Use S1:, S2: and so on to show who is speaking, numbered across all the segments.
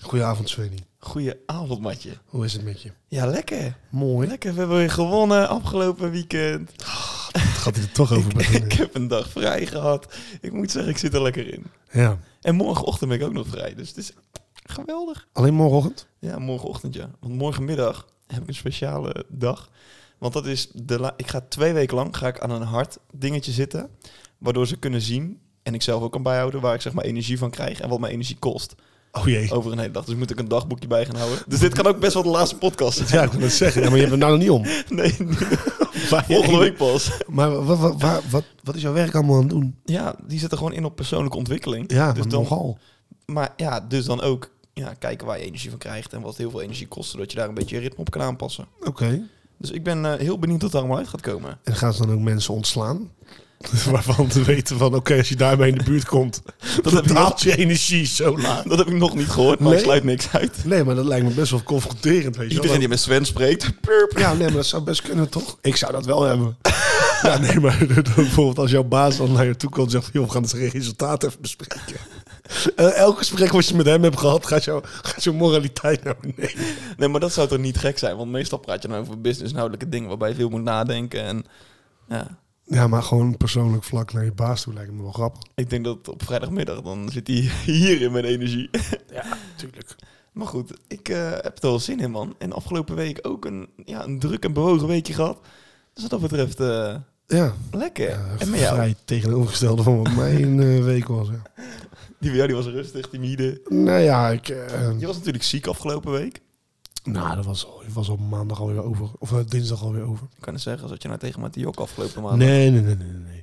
S1: Goedenavond, Sveni.
S2: Goedenavond, Matje.
S1: Hoe is het met je?
S2: Ja, lekker.
S1: Mooi.
S2: Lekker, we hebben weer gewonnen afgelopen weekend.
S1: Het gaat hij er toch over
S2: Ik
S1: beginnen.
S2: heb een dag vrij gehad. Ik moet zeggen, ik zit er lekker in.
S1: Ja.
S2: En morgenochtend ben ik ook nog vrij, dus het is geweldig.
S1: Alleen morgenochtend?
S2: Ja, morgenochtend ja. Want morgenmiddag heb ik een speciale dag. Want dat is de la- ik ga twee weken lang ga ik aan een hart dingetje zitten. Waardoor ze kunnen zien en ik zelf ook kan bijhouden waar ik zeg maar energie van krijg en wat mijn energie kost.
S1: Oh jee.
S2: Over een hele dag. Dus moet ik een dagboekje bij gaan houden. Dus dit kan ook best wel de laatste podcast zijn.
S1: Ja, ik wil het zeggen. Ja, maar je hebt het nou nog niet om.
S2: Nee, volgende week pas.
S1: Maar wat, wat, wat, wat, wat is jouw werk allemaal aan het doen?
S2: Ja, die zit er gewoon in op persoonlijke ontwikkeling.
S1: Ja,
S2: dus
S1: maar
S2: dan,
S1: nogal.
S2: maar ja, dus dan ook ja, kijken waar je energie van krijgt en wat heel veel energie kost, zodat je daar een beetje je ritme op kan aanpassen.
S1: Oké.
S2: Dus ik ben eh, heel benieuwd wat er allemaal uit gaat komen.
S1: En gaan ze dan ook mensen ontslaan? Waarvan te weten van, oké, als je daarmee in de buurt komt,
S2: Dat heb, ik nog,
S1: daalt je energie zo laag.
S2: dat heb ik nog niet gehoord, maar ik
S1: Nee?
S2: sluit niks uit.
S1: Nee, maar dat lijkt me best wel confronterend, weet je wel.
S2: Iedereen die met Sven spreekt, plurp.
S1: Ja, nee, maar dat zou best kunnen, toch? Ik zou dat wel hebben. Ja, nee, maar bijvoorbeeld als jouw baas dan naar je toe komt en zegt... joh, we gaan het resultaat even bespreken. Eh, elk gesprek wat je met hem hebt gehad, gaat, jou, gaat jouw moraliteit naar beneden.
S2: Nee, maar dat zou toch niet gek zijn, want meestal praat je nou over businesshoudelijke dingen waarbij je veel moet nadenken. En, ja.
S1: Ja, maar gewoon persoonlijk vlak naar je baas toe lijkt me wel grappig.
S2: Ik denk dat op vrijdagmiddag dan zit hij hier in mijn energie.
S1: Ja, natuurlijk.
S2: Maar goed, ik eh, heb er wel zin in, man. En afgelopen week ook een, ja, een druk en bewogen weekje gehad. Dus wat dat betreft, eh,
S1: Ja,
S2: lekker.
S1: eh,
S2: en met jou?
S1: vrij tegenovergestelde van wat mijn eh, week was. Ja.
S2: Die bij jou die was rustig, timide.
S1: Nou ja, ik... eh,
S2: Je was natuurlijk ziek afgelopen week.
S1: nou, dat was al, was al maandag alweer over. Of eh, dinsdag alweer over.
S2: Ik kan het zeggen, zat je nou tegen Matthiok afgelopen maand.
S1: Nee, nee, nee, nee, nee, nee.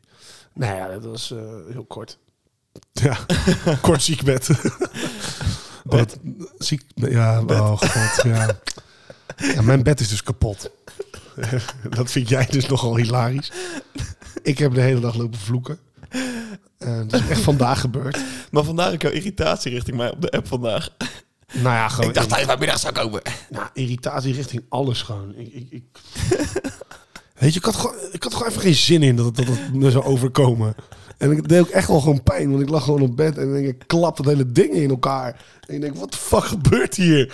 S1: Nou ja, dat was eh, heel kort. Ja, kort ziekbed. bed. Ziek, ja, oh god, ja. ja. Mijn bed is dus kapot. dat vind jij dus nogal hilarisch. Ik heb de hele dag lopen vloeken. Eh dat is echt vandaag gebeurd.
S2: Maar vandaar ook jouw irritatie richting mij op de app vandaag.
S1: Nou ja, gewoon
S2: ik dacht dat je vanmiddag zou komen.
S1: nou, irritatie richting alles gewoon. Ik, ik, ik... Weet je, ik had, gewoon, ik had gewoon even geen zin in dat het, dat het me zou overkomen. En ik deed ook echt wel gewoon pijn, want ik lag gewoon op bed en ik klap dat hele ding in elkaar. En ik denk, wat de fuck gebeurt hier?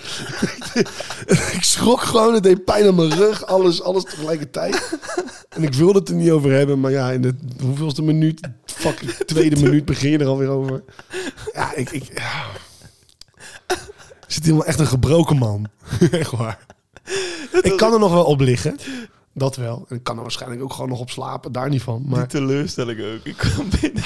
S1: En ik schrok gewoon, het deed pijn aan mijn rug, alles, alles tegelijkertijd. En ik wilde het er niet over hebben, maar ja, in de hoeveelste minuut, fucking tweede minuut begin je er alweer over. Ja, ik... ik ja. Ik zit helemaal echt een gebroken man. echt waar. Ik kan er nog wel op liggen. Dat wel. En ik kan er waarschijnlijk ook gewoon nog op slapen. Daar niet van.
S2: Die
S1: Maar
S2: teleurstelling ook. Ik kwam binnen.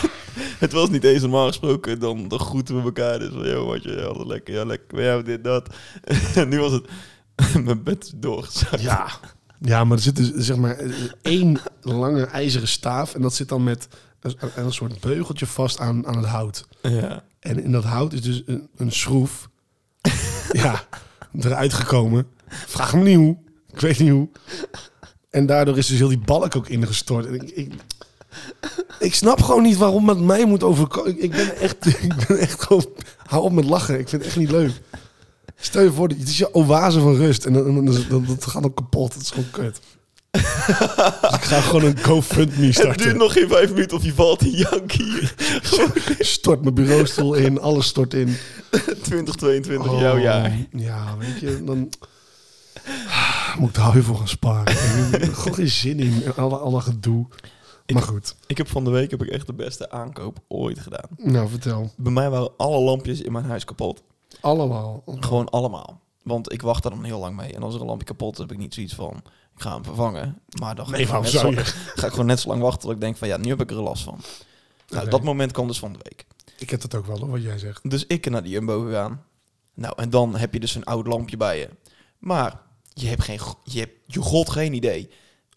S2: Het was niet eens normaal gesproken, dan, dan groeten we elkaar. Dus van, joh, wat je, ja, alles lekker, ja, lekker, ja, dit, dat. En nu was het, mijn bed is doorgezakt.
S1: ja. Ja, maar er zit dus zeg maar eh, één lange ijzeren staaf. En dat zit dan met een, een soort beugeltje vast aan, aan het hout.
S2: Ja.
S1: En in dat hout is dus een, een schroef. ja, eruit gekomen. Vraag me niet hoe. Ik weet niet hoe. En daardoor is dus heel die balk ook ingestort. En ik, ik, ik snap gewoon niet waarom het mij moet overkomen. Ik, ik ben echt, ik ben echt gewoon... Hou op met lachen. Ik vind het echt niet leuk. Stel je voor, het is je oase van rust. En dan, dan, dan, dan- dat gaat ook kapot. Dat is gewoon kut. Dus ik ga gewoon een GoFundMe
S2: Het
S1: starten.
S2: duurt nog geen vijf minuten of je valt in jankie. Gewoon
S1: Stort mijn bureaustoel in. Alles stort in.
S2: 2022, jouw
S1: Oh.
S2: jaar.
S1: Ja, weet je, dan moet ik daar heel veel gaan sparen. Ik heb er gewoon geen zin in, alle, alle gedoe. Maar goed,
S2: Ik heb van de week heb ik echt de beste aankoop ooit gedaan.
S1: nou vertel.
S2: Bij mij waren alle lampjes in mijn huis kapot.
S1: Allemaal.
S2: Gewoon allemaal. Want ik wacht er dan heel lang mee. En als er een lampje kapot is, heb ik niet zoiets van... Ik ga hem vervangen. Maar dan ga,
S1: Nee,
S2: ik, gewoon
S1: waarom
S2: net
S1: zou
S2: zo, ga ik gewoon net zo lang wachten... dat ik denk van ja, nu heb ik er last van. Nou,
S1: Oké.
S2: dat moment kwam dus van de week.
S1: Ik heb dat ook wel, hoor, wat jij zegt.
S2: Dus ik naar de Jumbo gegaan. Nou, en dan heb je dus een oud lampje bij je. Maar je hebt geen, go- je hebt je god geen idee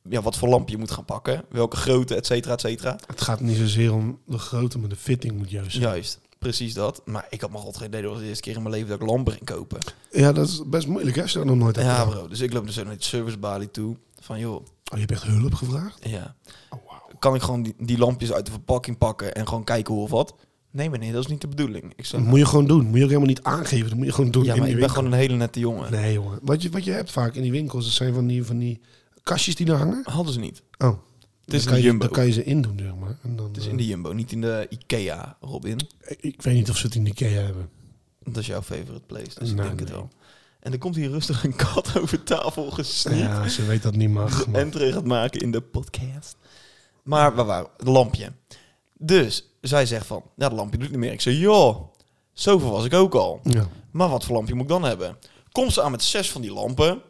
S2: ja, wat voor lampje je moet gaan pakken. Welke grootte, et cetera, et cetera.
S1: Het gaat niet zozeer om de grootte, maar de fitting moet juist zijn.
S2: Juist, precies dat. Maar ik had mijn god geen idee. Dat was de eerste keer in mijn leven dat ik lampen ging kopen.
S1: Ja, dat is best moeilijk hè, als je dat nog nooit hebt
S2: Ja,
S1: gedaan.
S2: bro. Dus ik loop dus naar de servicebalie toe. Van joh,
S1: Oh, je hebt echt hulp gevraagd?
S2: ja.
S1: Oh, wauw.
S2: Kan ik gewoon die, die lampjes uit de verpakking pakken en gewoon kijken hoe of wat? Nee, meneer, dat is niet de bedoeling. Ik
S1: Dat
S2: zei,
S1: moet je gewoon doen. Moet je ook helemaal niet aangeven. Dat moet je gewoon doen
S2: ja,
S1: in
S2: maar
S1: die
S2: ik ben
S1: winkel.
S2: gewoon een hele nette jongen.
S1: Nee, jongen. Wat je, wat je hebt vaak in die winkels, dat zijn van die, van die kastjes die daar hangen.
S2: Hadden ze niet.
S1: Oh.
S2: Het is
S1: dan kan
S2: een
S1: je-
S2: Jumbo.
S1: Dan kan je ze indoen, zeg maar. En dan,
S2: Het is
S1: eh,
S2: in de Jumbo, niet in de Ikea, Robin.
S1: Ik weet niet of ze het in de IKEA hebben.
S2: Dat is jouw favorite place, dus ik
S1: Nee,
S2: denk het
S1: Nou, nee.
S2: wel. En er komt hier rustig een kat over tafel gesneakt.
S1: Ja, ze weet dat niet mag. maar-
S2: en terug gaat maken in de podcast. Maar waar waren we? Het lampje. Dus zij zegt van, ja, dat lampje doet niet meer. Ik zeg, joh, zoveel was ik ook al.
S1: Ja.
S2: Maar wat voor lampje moet ik dan hebben? Komt ze aan met zes van die lampen.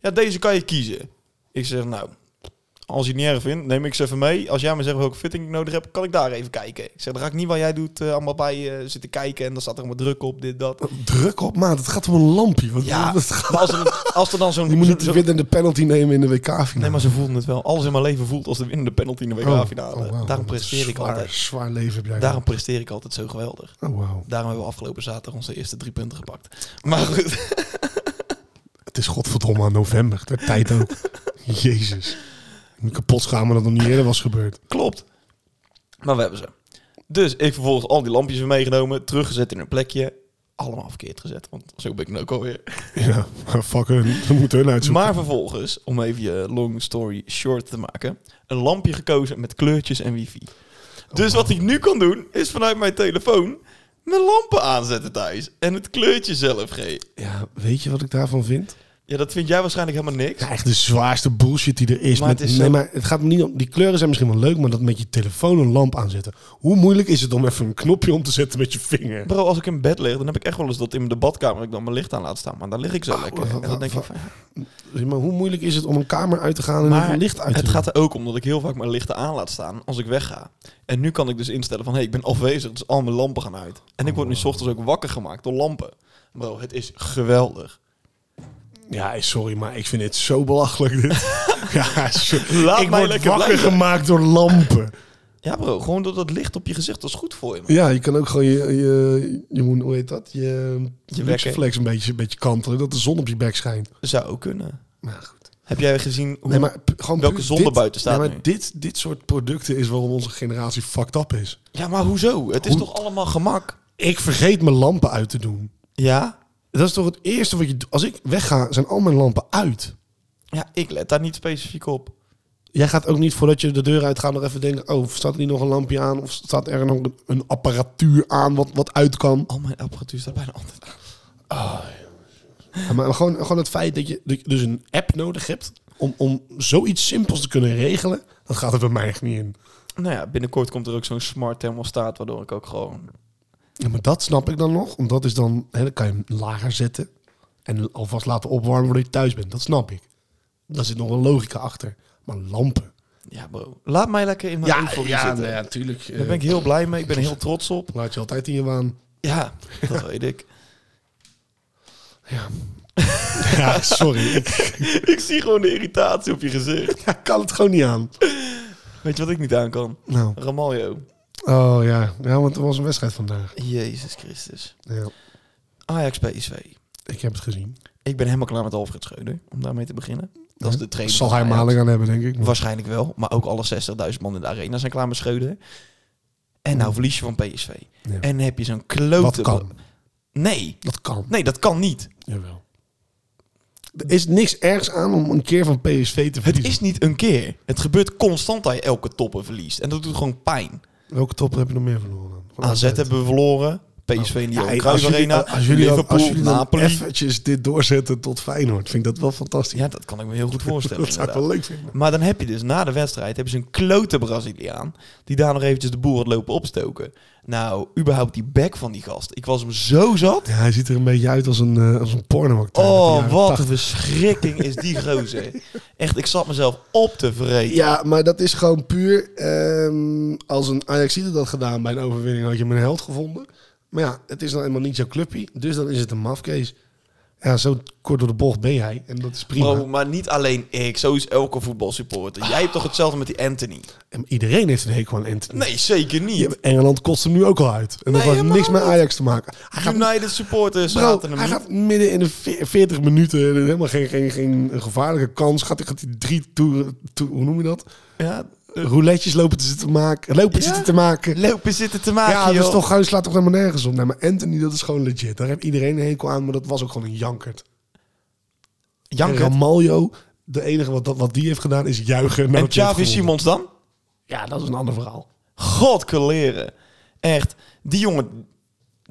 S2: Ja, deze kan je kiezen. Ik zeg, nou, als je het niet erg vindt, neem ik ze even mee. Als jij me zegt welke fitting ik nodig heb, kan ik daar even kijken. Ik zeg, dan ga ik niet wat jij doet, eh, allemaal bij eh, zitten kijken. En dan staat er allemaal druk op, dit, dat.
S1: Druk op, maat. Het gaat om een lampje. Wat,
S2: Ja,
S1: wat- wat-
S2: Maar als er, als er dan zo'n...
S1: je moet niet de
S2: zo-
S1: win en de penalty nemen in de WK-finale.
S2: Nee, maar ze voelden het wel. Alles in mijn leven voelt als de winnende penalty in de WK-finale.
S1: Oh, oh, wauw.
S2: Daarom
S1: Wat
S2: presteer ik
S1: zwaar,
S2: altijd.
S1: Zwaar leven heb jij.
S2: Daarom presteer ik altijd zo geweldig.
S1: Oh, wauw.
S2: Daarom hebben we afgelopen zaterdag onze eerste drie punten gepakt. Maar goed,
S1: Het is godverdomme aan november. De tijd ook. Jezus. Ik moet kapot schamen dat het nog niet eerder was gebeurd.
S2: klopt. Maar we hebben ze. Dus ik vervolgens al die lampjes weer meegenomen, teruggezet in hun plekje. Allemaal verkeerd gezet, want zo ben ik nu ook alweer.
S1: Ja, fuck hun. We moeten hun uitzoeken.
S2: Maar vervolgens, om even je long story short te maken, een lampje gekozen met kleurtjes en wifi. Dus wat ik nu kan doen, is vanuit mijn telefoon mijn lampen aanzetten thuis. En het kleurtje zelf geven.
S1: Ja, weet je wat ik daarvan vind?
S2: Ja, dat vind jij waarschijnlijk helemaal niks.
S1: Ja, echt de zwaarste bullshit die er is. eh,
S2: Maar
S1: met,
S2: het is
S1: nee,
S2: zo-
S1: maar het gaat me niet om... Die kleuren zijn misschien wel leuk, maar dat met je telefoon een lamp aanzetten. Hoe moeilijk is het om even een knopje om te zetten met je vinger?
S2: Bro, als ik in bed lig, dan heb ik echt wel eens dat in de badkamer ik dan mijn licht aan laat staan. Maar dan lig ik zo lekker. En dan denk ik van,
S1: Maar hoe moeilijk is het om een kamer uit te gaan en
S2: Maar
S1: even licht uit te
S2: het
S1: doen?
S2: gaat er ook om dat ik heel vaak mijn lichten aan laat staan als ik wegga. En nu kan ik dus instellen van, hé, hey, ik ben afwezig, dus al mijn lampen gaan uit. En ik word nu 's ochtends ook wakker gemaakt door lampen. Bro, het is geweldig.
S1: Ja, sorry, maar ik vind dit zo belachelijk. Dit. ja, sorry.
S2: Laat
S1: ik
S2: mij
S1: word
S2: lekker
S1: wakker
S2: blijven.
S1: gemaakt door lampen.
S2: Ja bro, gewoon door dat licht op je gezicht, dat is goed voor je. man.
S1: Ja, je kan ook gewoon je, je, je moet- hoe heet dat? Je,
S2: Je
S1: flex een beetje, een beetje kantelen, dat de zon op je bek schijnt.
S2: Zou ook kunnen.
S1: Maar goed.
S2: Heb jij gezien hoe...
S1: Nee, maar p- gewoon
S2: welke
S1: puur
S2: zon er
S1: dit-
S2: buiten staat
S1: Ja, maar
S2: nu?
S1: Dit, dit soort producten is waarom onze generatie fucked up is.
S2: Ja, maar hoezo? Het is
S1: Hoe-
S2: toch allemaal gemak?
S1: Ik vergeet mijn lampen uit te doen.
S2: Ja?
S1: Dat is toch het eerste wat je doet. Als ik wegga, zijn al mijn lampen uit.
S2: Ja, ik let daar niet specifiek op.
S1: Jij gaat ook niet voordat je de deur uitgaat nog even denken... oh, staat er niet nog een lampje aan? Of staat er nog een- een apparatuur aan wat, wat uit kan?
S2: Al mijn apparatuur staat bijna altijd aan.
S1: Ja, maar gewoon, gewoon het feit dat je, dat je dus een app nodig hebt... Om, om zoiets simpels te kunnen regelen... dat gaat er bij mij echt niet in.
S2: Nou ja, binnenkort komt er ook zo'n smart thermostaat, waardoor ik ook gewoon...
S1: Ja, maar dat snap ik dan nog. Want dat is dan... Hè, dan kan je hem lager zetten... en alvast laten opwarmen voordat je thuis bent. Dat snap ik. Daar zit nog wel logica achter. Maar lampen...
S2: Ja bro, laat mij lekker in mijn euforie zitten.
S1: natuurlijk.
S2: Daar ben ik heel blij mee, ik ben er heel trots op.
S1: Laat je altijd in je waan.
S2: Ja, dat weet ik.
S1: Ja, sorry. ik
S2: ik zie gewoon de irritatie op je gezicht.
S1: ja, kan het gewoon niet aan.
S2: Weet je wat ik niet aan kan?
S1: Nou.
S2: Ramaljo.
S1: Oh ja. ja, want er was een wedstrijd vandaag.
S2: Jezus Christus.
S1: Ja,
S2: Ajax PSV.
S1: ik heb het gezien.
S2: Ik ben helemaal klaar met Alfred Schreuder, om daarmee te beginnen. Dat is de trainer.
S1: Zal
S2: van
S1: hij
S2: Ajax.
S1: maling aan hebben, denk ik. Maar-
S2: Waarschijnlijk wel, maar ook alle 60.000 man in de arena zijn klaar met Schreuder. En nou verlies je van PSV.
S1: Ja.
S2: En heb je zo'n klote...
S1: Dat kan.
S2: Nee,
S1: Dat kan.
S2: nee, dat kan niet.
S1: Jawel. Er is niks ergs aan om een keer van PSV te
S2: Het
S1: verliezen.
S2: is niet een keer. Het gebeurt constant dat je elke topper verliest. En dat doet gewoon pijn.
S1: Welke topper heb je nog meer verloren? dan? Van
S2: AZ hebben we verloren. PSV in die
S1: Ja,
S2: Johan
S1: hey,
S2: Cruijff
S1: als jullie, nou-
S2: Arena.
S1: als jullie, dan-
S2: Liverpool,
S1: als jullie dan
S2: Napoli.
S1: eventjes dit doorzetten tot Feyenoord, vind ik dat wel fantastisch.
S2: Ja, dat kan ik me heel goed voorstellen.
S1: dat zou ik
S2: inderdaad.
S1: wel leuk vinden.
S2: Maar dan heb je dus na de wedstrijd hebben ze een klote Braziliaan die daar nog eventjes de boer had lopen opstoken. Nou, überhaupt die bek van die gast. Ik was hem zo zat.
S1: Ja, hij ziet er een beetje uit als een, eh, als een pornoacteur. uit de
S2: Oh,
S1: jaren
S2: wat
S1: 80.
S2: een verschrikking is die gozer. Echt, ik zat mezelf op te vreten.
S1: Ja, maar dat is gewoon puur... ehm, als een Ajaxide dat gedaan bij een overwinning, had je hem een held gevonden. Maar ja, het is dan helemaal niet jouw clubje. Dus dan is het een mafkees. Ja, zo kort door de bocht ben jij. En dat is prima.
S2: Bro, maar niet alleen ik. Zo is elke voetbalsupporter. Jij hebt toch hetzelfde met die Anthony?
S1: En iedereen heeft een hekel aan Anthony.
S2: Nee, zeker niet.
S1: Ja, maar Engeland kost hem nu ook al uit. En dat
S2: Nee,
S1: heeft
S2: helemaal
S1: niks met Ajax te maken. Hij gaat,
S2: United supporters
S1: bro,
S2: zaten hem
S1: hij
S2: niet.
S1: gaat midden in de veer- 40 minuten, eh, helemaal geen, geen, geen gevaarlijke kans, gaat hij gaat die drie toeren, toe- hoe noem je dat? Eh,
S2: Ja,
S1: Rouletjes lopen te zitten maken. Lopen
S2: Ja?
S1: zitten te maken.
S2: lopen zitten te maken,
S1: ja, dat is
S2: joh.
S1: toch, gewoon- slaat toch helemaal nergens op. Nee, maar Anthony, dat is gewoon legit. Daar heeft iedereen een hekel aan, maar dat was ook gewoon een jankert. En
S2: Janker.
S1: Ramaljo, de enige wat, dat- wat die heeft gedaan, is juichen.
S2: En
S1: nadat hij heeft
S2: Xavi
S1: gewonnen.
S2: Simons dan?
S1: Ja, dat is een ander verhaal.
S2: God, leren. Echt. Die jongen,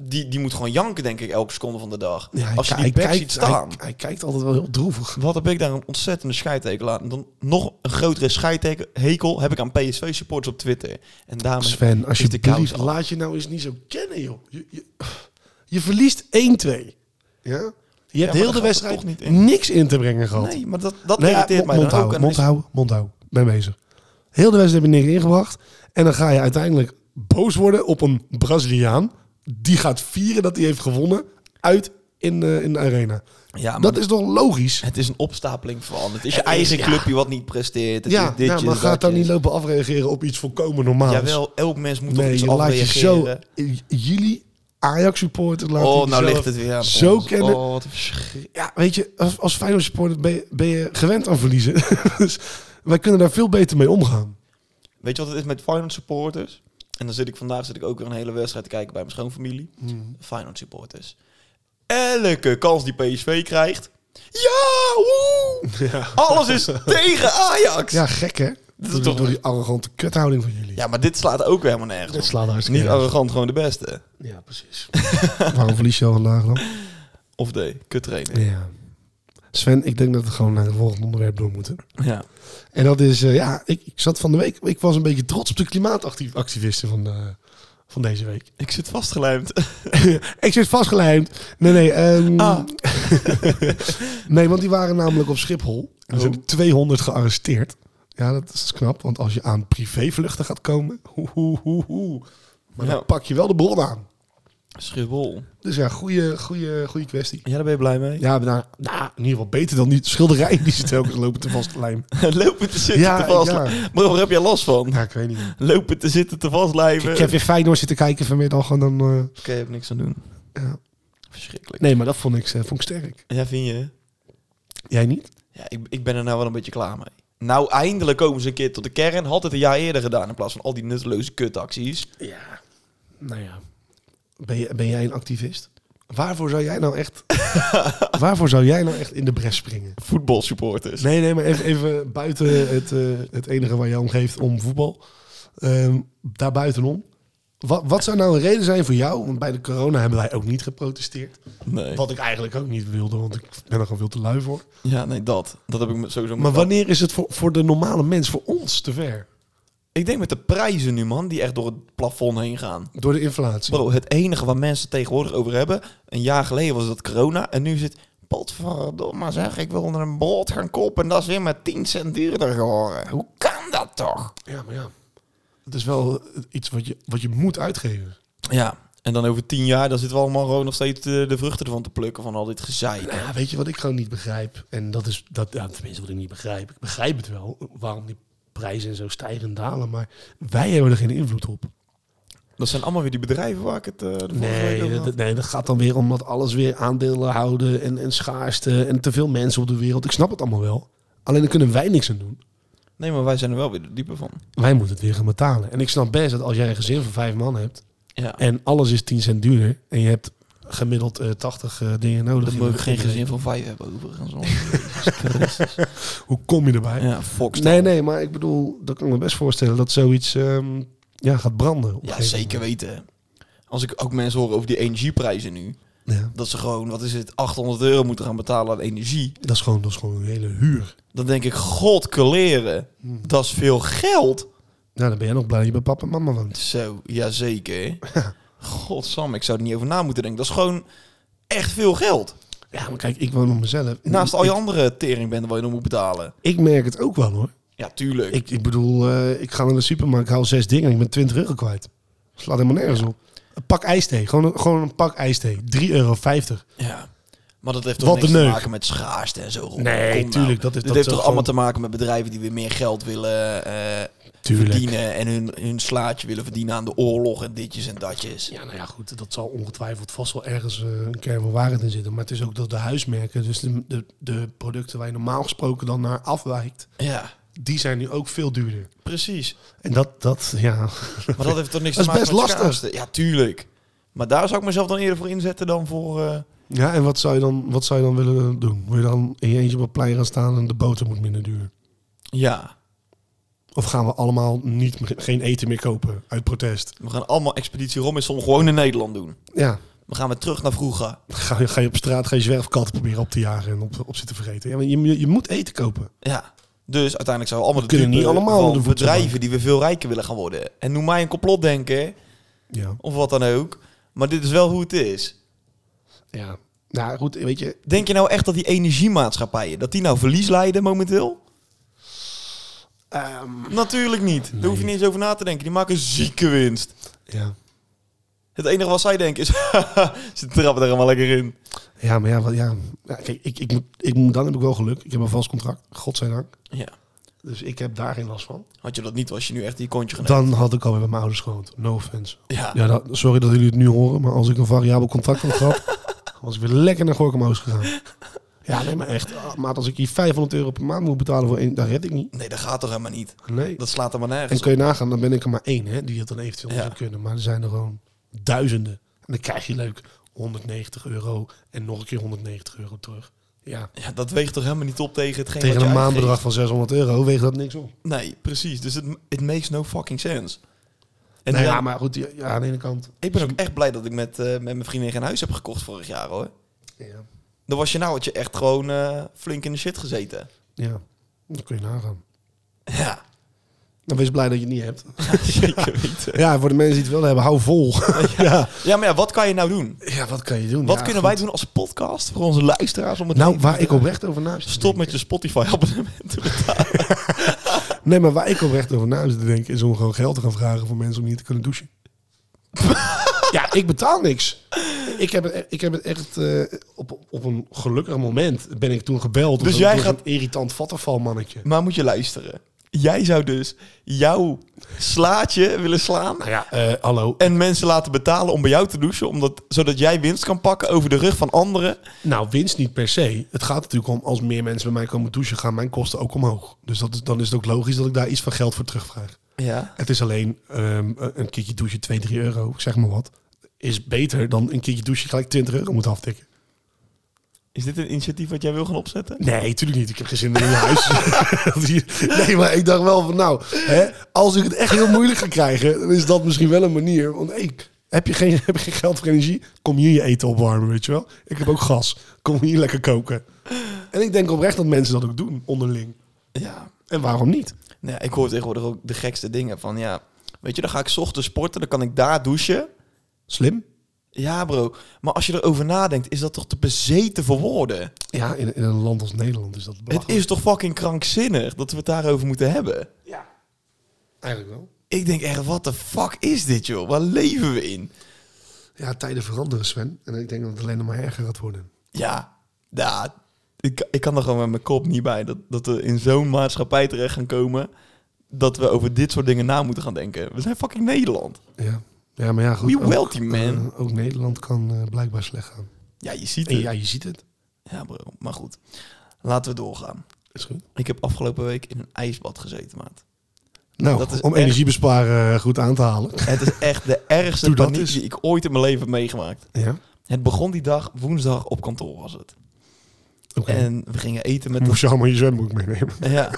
S2: die, die moet gewoon janken, denk ik, elke seconde van de dag.
S1: Ja, hij
S2: Als je
S1: ki-
S2: die
S1: hij
S2: back ziet
S1: hij-
S2: staan.
S1: Hij, kijkt altijd wel heel droevig.
S2: Wat heb ik daar een ontzettende scheidhekel aan. En Dan nog een grotere scheidhekel heb ik aan PSV-supporters op Twitter. En daarmee...
S1: Sven, als
S2: is de kous
S1: je
S2: al.
S1: laat je nou eens niet zo kennen, joh. Je, je, je verliest 1-2. Ja? Je
S2: maar
S1: hebt heel
S2: dat
S1: de
S2: gaat
S1: wedstrijd
S2: er toch niet in.
S1: niks in te brengen gehad.
S2: Nee, maar dat, dat
S1: Nee, ja,
S2: irriteert
S1: mond-
S2: mij
S1: mond
S2: dan ook.
S1: houden,
S2: En dan
S1: mond
S2: is-
S1: houden, mond houden. Ben bezig. Heel de wedstrijd heb je niks ingebracht. En dan ga je uiteindelijk boos worden op een Braziliaan. Die gaat vieren dat hij heeft gewonnen uit in, eh, in de arena.
S2: ja, maar
S1: Dat is toch logisch?
S2: Het is een opstapeling van. Het is je
S1: Het is,
S2: eigen
S1: ja.
S2: clubje wat niet presteert. Het
S1: Ja,
S2: is ditje,
S1: ja, maar gaat
S2: datje.
S1: dan niet lopen afreageren op iets volkomen normaals.
S2: Jawel, elk mens moet op
S1: nee,
S2: iets
S1: je laat je zo...
S2: afreageren.
S1: J- Jullie Ajax-supporters laten
S2: oh, nou
S1: jezelf-
S2: ligt het weer aan
S1: zo
S2: ons.
S1: kennen-
S2: Oh, wat een verschrik.
S1: Ja, weet je, als, als Feyenoord-supporter ben, je- ben je gewend aan verliezen. dus wij kunnen daar veel beter mee omgaan.
S2: Weet je wat het is met Feyenoord supporters? En dan zit ik vandaag zit ik ook weer een hele wedstrijd te kijken bij mijn schoonfamilie.
S1: Hmm.
S2: Feyenoord supporters. Elke kans die PSV krijgt. Ja, woe! Alles is tegen Ajax. Ja.
S1: Ja, gek hè? Dat is toch
S2: is toch-
S1: door die arrogante kuthouding van jullie.
S2: maar dit slaat ook weer helemaal nergens.
S1: dat
S2: op.
S1: slaat hartstikke
S2: Niet
S1: nergens
S2: arrogant, gewoon de beste.
S1: op. Ja, precies. Waarom verlies je al vandaag dan?
S2: Of de kut trainer.
S1: Ja. Sven, ik denk dat we gewoon naar het volgende onderwerp door moeten.
S2: Ja.
S1: En dat is, eh, ja, ik, ik zat van de week, ik was een beetje trots op de klimaatactivisten van, de, van deze week.
S2: Ik zit vastgelijmd.
S1: ik zit vastgelijmd. Nee, nee. ehm,
S2: Ah.
S1: nee, want die waren namelijk op Schiphol. En er zijn er 200 gearresteerd. Ja, dat is knap, want als je aan privévluchten gaat komen, hoe, hoe, hoe, hoe. Maar
S2: Ja.
S1: dan pak je wel de bron aan.
S2: Schiphol.
S1: Dus ja, goede, goede, goede kwestie.
S2: Ja, daar ben je blij mee.
S1: Ja, nou, nou, in ieder geval beter dan die schilderijen die ze telkens lopen te vastlijmen.
S2: Lopen te zitten
S1: Ja,
S2: te vastlijmen.
S1: ja.
S2: Bro, waar heb jij last van?
S1: ja, ik weet niet.
S2: Lopen te zitten te vastlijmen.
S1: Ik heb weer Feyenoord zitten kijken vanmiddag en dan... eh,
S2: Oké, heb niks aan doen.
S1: Ja.
S2: Verschrikkelijk.
S1: nee, maar dat vond ik, eh, vond ik sterk.
S2: Ja, vind je?
S1: Jij niet?
S2: Ja, ik, ik ben er nou wel een beetje klaar mee. Nou, eindelijk komen ze een keer tot de kern. Had het een jaar eerder gedaan in plaats van al die nutteloze kutacties.
S1: Ja, nou ja. Ben, je, ben jij een activist? Waarvoor zou jij nou echt... waarvoor zou jij nou echt in de bres springen?
S2: Voetbalsupporters.
S1: Nee, nee, maar even, even buiten het, eh, het enige waar je om geeft om voetbal. Ehm daar buitenom. Wat, wat zou nou een reden zijn voor jou? Want bij de corona hebben wij ook niet geprotesteerd.
S2: Nee.
S1: Wat ik eigenlijk ook niet wilde, want ik ben er gewoon veel te lui voor.
S2: Ja, nee, dat. Dat heb ik me sowieso... met
S1: Maar
S2: dat.
S1: wanneer is het voor, voor de normale mens, voor ons, te ver?
S2: Ik denk met de prijzen nu, man, die echt door het plafond heen gaan.
S1: Door de inflatie.
S2: Bro, het enige waar mensen tegenwoordig over hebben... Een jaar geleden was dat corona. En nu zit... Potverdomme zeg, ik wil onder een brood gaan kopen... en dat is weer met 10 cent duurder geworden. Hoe kan dat toch?
S1: Ja, maar ja. Het is wel eh, iets wat je, wat je moet uitgeven.
S2: Ja, en dan over 10 jaar... dan zitten we allemaal gewoon nog steeds eh, de, de vruchten ervan te plukken... van al dit gezeik.
S1: Nou, weet je wat ik gewoon niet begrijp? En dat is dat, ja, tenminste wat ik niet begrijp. Ik begrijp het wel, waarom die prijzen zo stijgen en dalen. Maar wij hebben er geen invloed op.
S2: Dat zijn allemaal weer die bedrijven waar ik het eh, de vorige week
S1: Nee,
S2: over had.
S1: dat, nee, dat gaat dan weer om dat alles weer aandelen houden en, en schaarste en te veel mensen op de wereld. Ik snap het allemaal wel. Alleen daar kunnen wij niks aan doen.
S2: Nee, maar wij zijn er wel weer de diepe van.
S1: Wij moeten het weer gaan betalen. En ik snap best dat als jij een gezin van vijf man hebt
S2: Ja,
S1: en alles is 10 cent duurder en je hebt gemiddeld eh 80 eh, dingen nodig.
S2: dan
S1: in
S2: moet
S1: een
S2: ik geen
S1: beginweek.
S2: gezin van vijf hebben overigens. hoor. Jezus Christus.
S1: Hoe kom je erbij?
S2: ja, Fox.
S1: Nee, nee, maar ik bedoel, dat kan ik me best voorstellen dat zoiets ehm, ja, gaat branden. op een
S2: Ja,
S1: gegeven
S2: zeker
S1: moment.
S2: weten. Als ik ook mensen hoor over die energieprijzen nu...
S1: Ja,
S2: dat ze gewoon, wat is het, 800 euro moeten gaan betalen aan energie.
S1: dat, is gewoon, dat is gewoon een hele huur.
S2: Dan denk ik, god kleren,
S1: Hmm.
S2: dat is veel geld.
S1: Nou, dan ben jij nog blij dat je bij papa en mama woont.
S2: Zo, jazeker. Godsam, ik zou er niet over na moeten denken. Dat is gewoon echt veel geld.
S1: Ja, maar kijk, Nou, ik woon op mezelf.
S2: Naast al je
S1: ik,
S2: andere teringbenden waar je nog moet betalen.
S1: ik merk het ook wel hoor.
S2: Ja, tuurlijk.
S1: Ik, ik bedoel, eh, ik ga naar de supermarkt, ik haal zes dingen en ik ben 20 euro kwijt. Slaat helemaal nergens op. Een pak ijsthee, gewoon een, gewoon een pak ijsthee. 3,50 euro.
S2: Ja. Maar dat heeft
S1: Wat
S2: toch niks
S1: een
S2: te
S1: neuk.
S2: maken met schaarste en zo. Rob?
S1: Nee,
S2: Kom nou.
S1: tuurlijk, dat is-
S2: Dit
S1: dat
S2: heeft
S1: is
S2: toch
S1: ook
S2: allemaal te maken met bedrijven die weer meer geld willen eh,
S1: Tuurlijk.
S2: verdienen. En hun, hun slaatje willen verdienen aan de oorlog en ditjes en datjes.
S1: Ja, nou ja, goed, dat zal ongetwijfeld vast wel ergens eh, een kern van waarheid in zitten. Maar het is ook dat de huismerken, dus de, de, de producten waar je normaal gesproken dan naar afwijkt,
S2: Ja,
S1: die zijn nu ook veel duurder.
S2: precies.
S1: En dat, dat ja.
S2: Maar dat heeft toch niks
S1: Dat
S2: te
S1: is
S2: maken
S1: best
S2: met
S1: lastig.
S2: schaarste? Ja, tuurlijk. Maar daar zou ik mezelf dan eerder voor inzetten dan voor... eh,
S1: Ja, en wat zou je dan, wat zou je dan willen doen? Wil je dan in je eentje op het plein gaan staan en de boter moet minder duur?
S2: ja.
S1: Of gaan we allemaal niet, geen eten meer kopen uit protest?
S2: We gaan allemaal Expeditie Robinson gewoon in Nederland doen.
S1: Ja,
S2: We gaan weer terug naar vroeger.
S1: ga, je- ga je op straat, ga je zwerfkatten proberen op te jagen en op, op zitten vergeten. Ja, maar je, je- je moet eten kopen.
S2: Ja. Dus uiteindelijk zouden we allemaal
S1: kunnen
S2: type
S1: niet allemaal
S2: van
S1: onder de voedsel
S2: bedrijven die we veel rijker willen gaan worden. En noem mij een complotdenker
S1: Ja,
S2: of wat dan ook. Maar dit is wel hoe het is.
S1: ja. Nou goed, weet je,
S2: Denk je nou echt dat die energiemaatschappijen, dat die nou verlies lijden momenteel?
S1: ehm,
S2: Natuurlijk niet. Daar hoef je niet eens over na te denken. Die maken zieke winst.
S1: ja.
S2: Het enige wat zij denken is, ze trappen er helemaal lekker in.
S1: Ja, maar ja, wat- ja. ja kijk, ik, ik, moet, ik moet, dan heb ik wel geluk. Ik heb een vast contract, godzijdank.
S2: Ja.
S1: Dus ik heb daar geen last van.
S2: Had je dat niet, was je nu echt die kontje genomen.
S1: Dan had ik alweer bij mijn ouders gewoond. No offense.
S2: Ja.
S1: Ja, dat- sorry dat jullie het nu horen, maar als ik een variabel contract had gehad, was ik weer lekker naar Gorkum Oost gegaan. Ja, nee, maar echt. ah, Maat, als ik hier 500 euro per maand moet betalen voor één, daar red ik niet.
S2: Nee, dat gaat toch helemaal niet.
S1: Nee.
S2: Dat slaat helemaal
S1: En
S2: nergens op.
S1: kun je nagaan, dan ben ik er maar één hè, die het dan eventueel
S2: Ja.
S1: zou kunnen. Maar er zijn er gewoon duizenden. En dan krijg je leuk 190 euro en nog een keer 190 euro terug. Ja.
S2: Ja, dat weegt toch helemaal niet op tegen hetgeen
S1: Tegen
S2: wat je
S1: een
S2: uitgeeft?
S1: maandbedrag van 600 euro weegt dat niks op.
S2: Nee, precies. Dus het it makes no fucking sense. En
S1: nou ja,
S2: dan-
S1: maar goed, ja, ja, aan de ene kant.
S2: ik ben ook echt blij dat ik met, eh, met mijn vriendin geen huis heb gekocht vorig jaar hoor.
S1: Ja.
S2: Dan was je nou had je echt gewoon eh, flink in de shit gezeten.
S1: ja, dan kun je nagaan.
S2: Ja,
S1: Dan wees blij dat je het niet hebt.
S2: zeker weten.
S1: Ja, voor de mensen die het wel hebben, hou vol. ja.
S2: Ja, maar ja, wat kan je nou doen?
S1: ja, wat kan je doen?
S2: Wat
S1: Ja,
S2: kunnen
S1: goed.
S2: wij doen als podcast voor onze luisteraars om het
S1: Nou,
S2: te-
S1: waar ik oprecht over na zit te
S2: Stop met
S1: denken-
S2: je Spotify abonnement te betalen.
S1: Nee, maar waar ik oprecht over na zit te denken... is om gewoon geld te gaan vragen voor mensen om niet te kunnen douchen. ja, ik betaal niks. Ik heb het, ik heb het echt... eh, op, op een gelukkig moment ben ik toen gebeld.
S2: Dus
S1: door-
S2: jij
S1: door
S2: gaat-
S1: zo'n irritant vattenvalmannetje.
S2: Maar moet je luisteren. Jij zou dus jouw slaatje willen slaan
S1: Nou ja, eh, hallo.
S2: en mensen laten betalen om bij jou te douchen, omdat, zodat jij winst kan pakken over de rug van anderen.
S1: Nou, winst niet per se. Het gaat natuurlijk om als meer mensen bij mij komen douchen, gaan mijn kosten ook omhoog. Dus dat is, dan is het ook logisch dat ik daar iets van geld voor terugvraag.
S2: Ja.
S1: Het is alleen ehm, een keertje douchen, 2, 3 euro, ik zeg maar wat. Is beter dan een keertje douchen gelijk 20 euro moet aftikken.
S2: Is dit een initiatief wat jij wil gaan opzetten?
S1: Nee, tuurlijk niet. Ik heb geen zin in een huis. nee, maar ik dacht wel van nou, hè, als ik het echt heel moeilijk ga krijgen, dan is dat misschien wel een manier. Want hey, heb, je geen, heb je geen geld voor energie? Kom hier je eten opwarmen, weet je wel. Ik heb ook gas. Kom hier lekker koken. En ik denk oprecht dat mensen dat ook doen onderling.
S2: Ja.
S1: En waarom niet?
S2: Nou ja, ik hoor tegenwoordig ook de gekste dingen van ja. Weet je, dan ga ik 's ochtends sporten, dan kan ik daar douchen.
S1: Slim?
S2: Ja, bro. Maar als je erover nadenkt, is dat toch te bezeten voor woorden?
S1: Ja, in, in een land als Nederland is dat
S2: Het
S1: belachelijk.
S2: is toch fucking krankzinnig dat we het daarover moeten hebben?
S1: Ja, eigenlijk wel.
S2: Ik denk echt, wat de fuck is dit, joh? Waar leven we in?
S1: Ja, tijden veranderen, Sven. En ik denk dat het alleen nog maar erger gaat worden.
S2: Ja, ja ik, ik kan er gewoon met mijn kop niet bij dat, dat we in zo'n maatschappij terecht gaan komen dat we over dit soort dingen na moeten gaan denken. We zijn fucking Nederland.
S1: Ja, ja maar ja, goed.
S2: We
S1: ook,
S2: wealthy man.
S1: eh, ook Nederland kan eh, blijkbaar slecht gaan.
S2: Ja, je ziet
S1: En
S2: het.
S1: ja, je ziet het.
S2: Ja, bro. Maar goed, laten we doorgaan.
S1: Is goed.
S2: Ik heb afgelopen week in een ijsbad gezeten, maat.
S1: Nou,
S2: Dat is
S1: om
S2: echt-
S1: energiebesparen eh, goed aan te halen.
S2: Het is echt de ergste
S1: Doe dat
S2: paniek
S1: eens.
S2: die ik ooit in mijn leven heb meegemaakt.
S1: Ja,
S2: Het begon die dag, woensdag op kantoor was het.
S1: oké.
S2: En we gingen eten met...
S1: Moest je allemaal je zwembroek meenemen.
S2: een- Ja.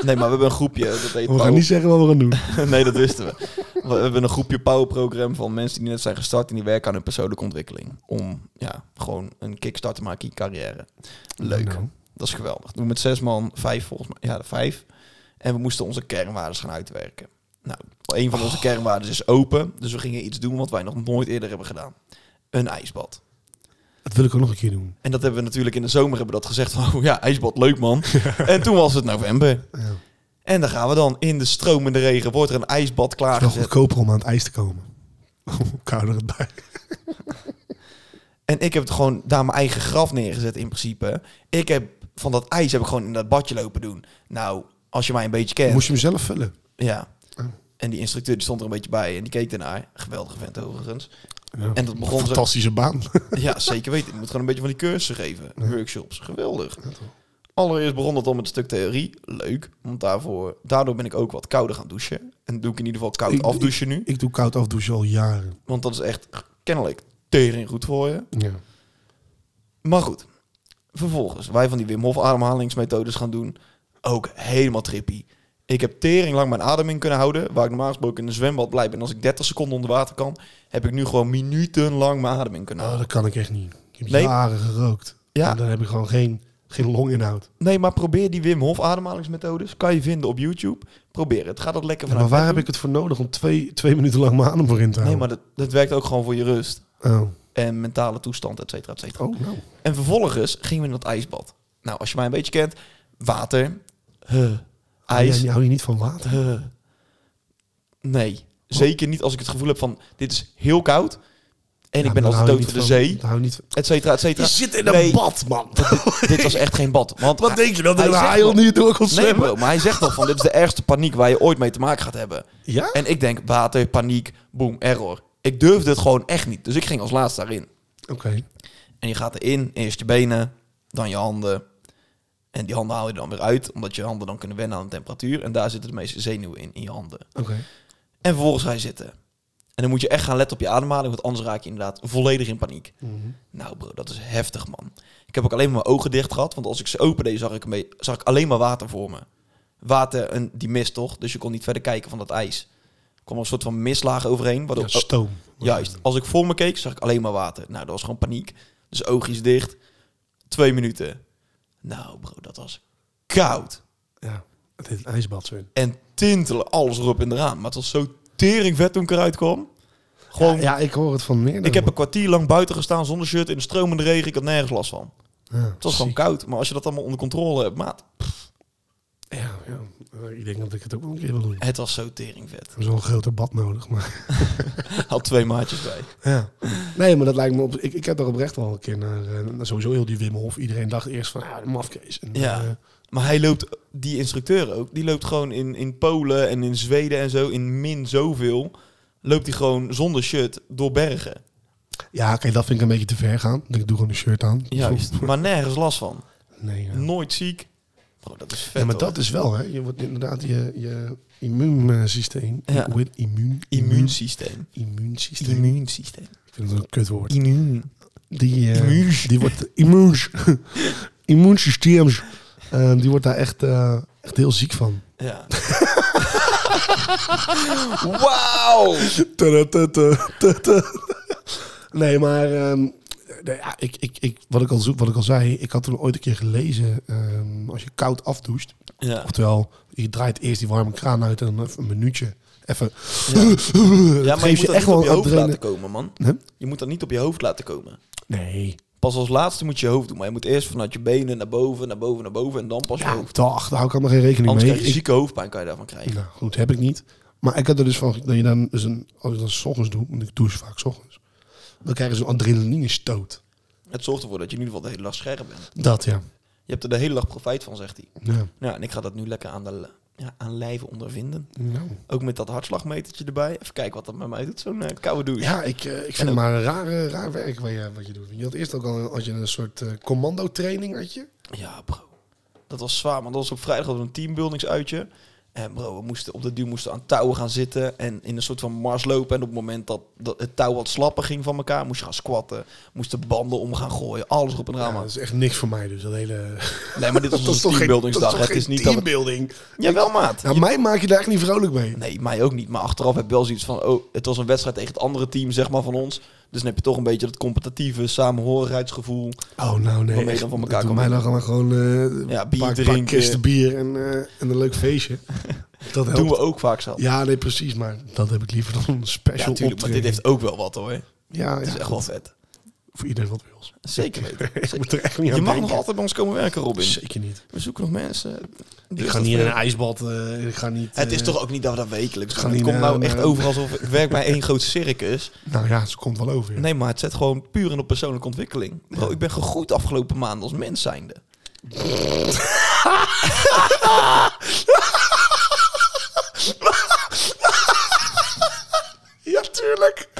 S2: Nee, maar we hebben een groepje. Dat heet
S1: We
S2: Pauw-
S1: gaan niet zeggen wat we gaan doen.
S2: nee, dat wisten we. We hebben een groepje powerprogram van mensen die net zijn gestart en die werken aan hun persoonlijke ontwikkeling. Om ja, gewoon een kickstart te maken in je carrière. Leuk.
S1: Nou,
S2: Dat is geweldig. Doen we met zes man, vijf volgens mij. Ja, vijf. En we moesten onze kernwaardes gaan uitwerken. Nou, een van onze kernwaardes is open. Dus we gingen iets doen wat wij nog nooit eerder hebben gedaan. Een ijsbad.
S1: dat wil ik ook nog een keer doen.
S2: En dat hebben we natuurlijk in de zomer hebben we dat gezegd. Van, oh ja, ijsbad, leuk man. en toen was het november.
S1: Ja. Het
S2: En dan gaan we dan. In de stromende regen wordt er een ijsbad
S1: is wel
S2: klaargezet.
S1: goedkoper om aan het ijs te komen. Hoe kouder het bij.
S2: En ik heb het gewoon daar mijn eigen graf neergezet in principe. Ik heb van dat ijs heb ik gewoon in dat badje lopen doen. Nou, als je mij een beetje kent.
S1: Moest je hem zelf vullen?
S2: Ja.
S1: Oh.
S2: En die instructeur die stond er een beetje bij en die keek ernaar. Geweldige vent overigens.
S1: Ja.
S2: En dat begon ze.
S1: Fantastische baan.
S2: Ja, zeker weten. Je moet gewoon een beetje van die cursussen geven. Workshops. Geweldig.
S1: toch.
S2: Allereerst begon dat dan met een stuk theorie. Leuk. Want daarvoor, daardoor ben ik ook wat kouder gaan douchen. En doe ik in ieder geval koud
S1: Ik-
S2: afdouchen nu.
S1: ik doe koud afdouchen al jaren.
S2: Want dat is echt kennelijk tering goed voor je.
S1: Ja.
S2: Maar goed, vervolgens wij van die Wim Hof ademhalingsmethodes gaan doen. Ook helemaal trippy. Ik heb tering lang mijn adem in kunnen houden, waar ik normaal gesproken in een zwembad blijf. En als ik 30 seconden onder water kan, heb ik nu gewoon minutenlang mijn adem in kunnen
S1: Nou,
S2: houden.
S1: dat kan ik echt niet. Ik heb
S2: Nee.
S1: jaren gerookt.
S2: Ja.
S1: En dan heb ik gewoon geen, geen longinhoud.
S2: Nee, maar probeer die Wim Hof ademhalingsmethodes. Kan je vinden op YouTube. Probeer het. Ga dat lekker
S1: Ja,
S2: vanuit.
S1: maar waar heb
S2: bed
S1: ik het voor nodig om twee, twee minuten lang mijn adem voor in te
S2: doen. Nee,
S1: houden?
S2: maar dat, dat werkt ook gewoon voor je rust.
S1: Oh,
S2: En mentale toestand, et cetera, et cetera.
S1: oh nou.
S2: En vervolgens gingen we in dat ijsbad. Nou, als je mij een beetje kent,
S1: Ah,
S2: water, huh,
S1: Ijs.
S2: ijs.
S1: Hou je niet van water?
S2: huh. Nee, zeker niet als ik het gevoel heb van dit is heel koud en
S1: Ja,
S2: ik ben
S1: dan
S2: als
S1: hou
S2: de
S1: je
S2: dood
S1: niet
S2: voor de
S1: van-
S2: zee,
S1: dan hou je niet van-
S2: et cetera, et
S1: Je
S2: cetera.
S1: zit in een
S2: Nee.
S1: bad, man.
S2: dit was echt geen bad. Want
S1: Wat denk je dat er
S2: Hij
S1: een
S2: zegt
S1: haai
S2: wel-
S1: niet door kon
S2: Nee,
S1: zwemmen?
S2: bro, maar hij zegt toch van dit is de ergste paniek waar je ooit mee te maken gaat hebben.
S1: ja?
S2: En ik denk water, paniek, boom, error. Ik durfde het gewoon echt niet, dus ik ging als laatste daarin.
S1: Oké.
S2: En je gaat erin, eerst je benen, dan je handen. En die handen haal je dan weer uit, omdat je handen dan kunnen wennen aan de temperatuur. En daar zitten de meeste zenuwen in, in je handen.
S1: Oké.
S2: En vervolgens ga je zitten. En dan moet je echt gaan letten op je ademhaling, want anders raak je inderdaad volledig in paniek.
S1: Mhm.
S2: Nou bro, dat is heftig man. Ik heb ook alleen maar mijn ogen dicht gehad, want als ik ze opende zag ik, een be- zag ik alleen maar water voor me. Water en die mist toch, dus je kon niet verder kijken van dat ijs. Er kwam een soort van mistlaag overheen, waardoor
S1: Ja, stoom.
S2: Oh, Juist. Als ik voor me keek, zag ik alleen maar water. Nou, dat was gewoon paniek. Dus oogjes dicht. Twee minuten. Nou, bro, dat was koud.
S1: Ja. Het heet ijsbad, Sven.
S2: En tintelen, alles erop en eraan. Maar het was zo tering vet toen ik eruit kwam. Gewoon,
S1: Ja, ja, ik hoor het van meerdere.
S2: ik heb een
S1: man.
S2: kwartier lang buiten gestaan zonder shirt in de stromende regen. Ik had nergens last van.
S1: Ja,
S2: Het was gewoon
S1: ziek.
S2: koud. Maar als je dat allemaal onder controle hebt, maat.
S1: Ja, ja. Eh, Ik denk dat ik het ook wel een keer wil doen.
S2: Het was zo tering vet.
S1: Er is wel een groter bad nodig, maar...
S2: Had twee maatjes bij.
S1: Ja. Nee, maar dat lijkt me op. Ik, ik heb er oprecht wel een keer naar. eh, naar sowieso heel die Wim Hof. Iedereen dacht eerst van. Ja, de mafkees. En,
S2: Ja.
S1: eh,
S2: Maar hij loopt, die instructeur ook, die loopt gewoon in, in Polen en in Zweden en zo, in min zoveel, loopt hij gewoon zonder shirt door bergen.
S1: ja, kijk, dat vind ik een beetje te ver gaan. Ik doe gewoon een shirt aan.
S2: Juist. maar nergens last van.
S1: Nee, ja.
S2: Nooit ziek. Bro, dat is vet.
S1: Ja, maar
S2: hoor.
S1: dat is wel, hè. Je wordt inderdaad je, je immuunsysteem.
S2: Ja.
S1: Hoe heet het? Immuun,
S2: Immuunsysteem.
S1: Immuunsysteem.
S2: Immuunsysteem.
S1: Ik vind dat een kutwoord.
S2: Immuun.
S1: Die, eh,
S2: Immuus.
S1: die wordt immuus. immuunsysteem. eh, die wordt daar echt, eh, echt heel ziek van.
S2: Ja. Wauw!
S1: Tudutudutudu. Nee, maar ehm, nee, ja, ik, ik, ik, wat, ik al zo, wat ik al zei, ik had toen ooit een keer gelezen, ehm, als je koud afdoucht,
S2: Ja.
S1: oftewel je draait eerst die warme kraan uit en dan even een minuutje, even,
S2: Ja. ja,
S1: Dat
S2: maar je
S1: geeft
S2: moet
S1: je
S2: dat
S1: echt
S2: niet op
S1: wel
S2: je hoofd
S1: adrenaline.
S2: laten komen, man.
S1: Hè?
S2: Je moet dat niet op je hoofd laten komen.
S1: Nee,
S2: Pas als laatste moet je je hoofd doen. Maar je moet eerst vanuit je benen naar boven, naar boven, naar boven. En dan pas je
S1: ja,
S2: hoofd.
S1: dag, daar hou ik allemaal geen rekening
S2: Anders
S1: mee.
S2: krijg je zieke hoofdpijn, kan je daarvan
S1: Ik-
S2: krijgen.
S1: nou, goed, heb ik niet. Maar ik had er dus van, dat je dan, dus een, als ik dat 's ochtends doe, want ik douche vaak 's ochtends, dan krijg je zo'n adrenaline stoot.
S2: Het zorgt ervoor dat je in ieder geval de hele dag scherp bent.
S1: Dat, ja.
S2: Je hebt er de hele dag profijt van, zegt hij.
S1: ja.
S2: Nou, en ik ga dat nu lekker aan, de, l- ja, aan lijve ondervinden.
S1: Nou.
S2: Ook met dat hartslagmetertje erbij. Even kijken wat dat met mij doet, zo'n eh, koude douche.
S1: Ja, ik, eh, ik
S2: En
S1: vind
S2: ook-
S1: het maar een raar, eh, raar werk wat je, wat je doet. Je had eerst ook al als je een soort eh, commando-training had je.
S2: Ja, bro. Dat was zwaar, want dat was op vrijdag hadden we een teambuildingsuitje. En bro, we moesten op de duur moesten aan touwen gaan zitten en in een soort van mars lopen. En op het moment dat, dat het touw wat slapper ging van elkaar, moest je gaan squatten. Moesten banden om gaan gooien, alles op een
S1: Ja,
S2: raam.
S1: Nou, dat is echt niks voor mij dus. Dat hele...
S2: nee, maar dit was onze teambuildingsdag.
S1: dat is toch
S2: Het is
S1: geen
S2: niet dat we...
S1: teambuilding.
S2: Jawel, maat.
S1: Nou, mij maak je daar echt niet vrolijk mee.
S2: Nee, mij ook niet. Maar achteraf heb ik wel zoiets van... Oh, het was een wedstrijd tegen het andere team, zeg maar, van ons. Dus dan heb je toch een beetje dat competitieve samenhorigheidsgevoel.
S1: Oh, nou nee.
S2: Waarmee je
S1: echt,
S2: dan van
S1: dat
S2: elkaar
S1: doet
S2: kan
S1: mij dan gewoon, gewoon eh,
S2: Ja, bier
S1: paar,
S2: drinken.
S1: paar kisten bier en, eh, en een leuk feestje. Dat helpt.
S2: Doen we ook vaak zelf.
S1: Ja, nee, precies. Maar dat heb ik liever dan een
S2: Ja,
S1: special
S2: natuurlijk. Maar dit
S1: optreden.
S2: heeft ook wel wat, hoor. Het
S1: Ja, ja,
S2: is echt wel vet.
S1: voor iedereen wat wils.
S2: Zeker weten.
S1: Ik
S2: Zeker.
S1: moet er echt niet
S2: Je
S1: aan
S2: mag nog
S1: denken.
S2: altijd bij ons komen werken, Robin.
S1: Zeker niet.
S2: We zoeken nog mensen. Dus
S1: Ik ga niet in een ijsbad. eh, ik ga niet...
S2: Het is
S1: eh,
S2: toch ook niet dat we dat wekelijks
S1: Ga
S2: doen. Het
S1: niet
S2: komt
S1: naar
S2: nou
S1: een,
S2: echt
S1: eh,
S2: over alsof ik werk bij één groot circus.
S1: Nou ja, ze komt wel over. ja.
S2: Nee, maar het zet gewoon puur in op persoonlijke ontwikkeling. Bro, ik ben gegroeid afgelopen maanden als mens zijnde.
S1: Ja, tuurlijk.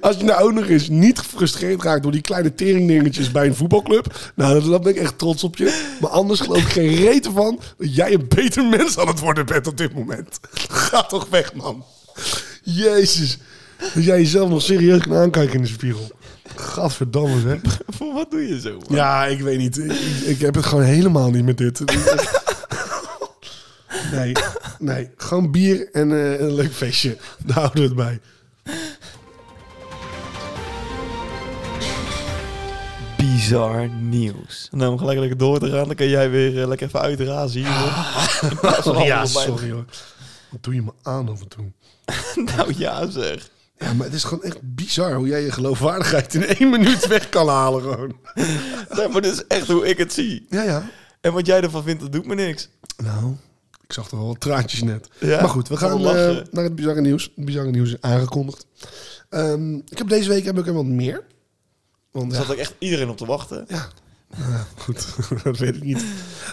S1: Als je nou ook nog eens niet gefrustreerd raakt door die kleine teringdingetjes bij een voetbalclub. Nou, dan ben ik echt trots op je. Maar anders geloof ik geen reet ervan dat jij een beter mens aan het worden bent op dit moment. Ga toch weg, man. Jezus. Dat jij jezelf nog serieus kan aankijken in de spiegel. Gadverdamme, hè.
S2: Voor wat doe je zo? man?
S1: Ja, ik weet niet. Ik, ik heb het gewoon helemaal niet met dit. Nee, nee. Gewoon bier en eh, een leuk feestje. Daar houden we het bij.
S2: Bizar nieuws. Nou, om gelijk lekker door te gaan, dan kan jij weer eh, lekker even uitrazen hier. hoor. In plaats van
S1: ja,
S2: allemaal bij-
S1: sorry hoor. Wat doe je me aan af en toe?
S2: Nou ja, zeg.
S1: Ja, maar het is gewoon echt bizar hoe jij je geloofwaardigheid in één minuut weg kan halen gewoon.
S2: Nee, maar dit is echt hoe ik het zie.
S1: Ja, ja.
S2: En wat jij ervan vindt, dat doet me niks.
S1: Nou, ik zag toch wel wat traantjes net.
S2: Ja,
S1: maar goed, we gaan
S2: wel lachen.
S1: eh, naar het bizarre nieuws. Het bizarre nieuws is aangekondigd. Ehm, ik heb deze week heb ik er wat meer. Want,
S2: Daar
S1: ja,
S2: zat ook echt iedereen op te wachten.
S1: ja. Nou, goed, dat weet ik niet.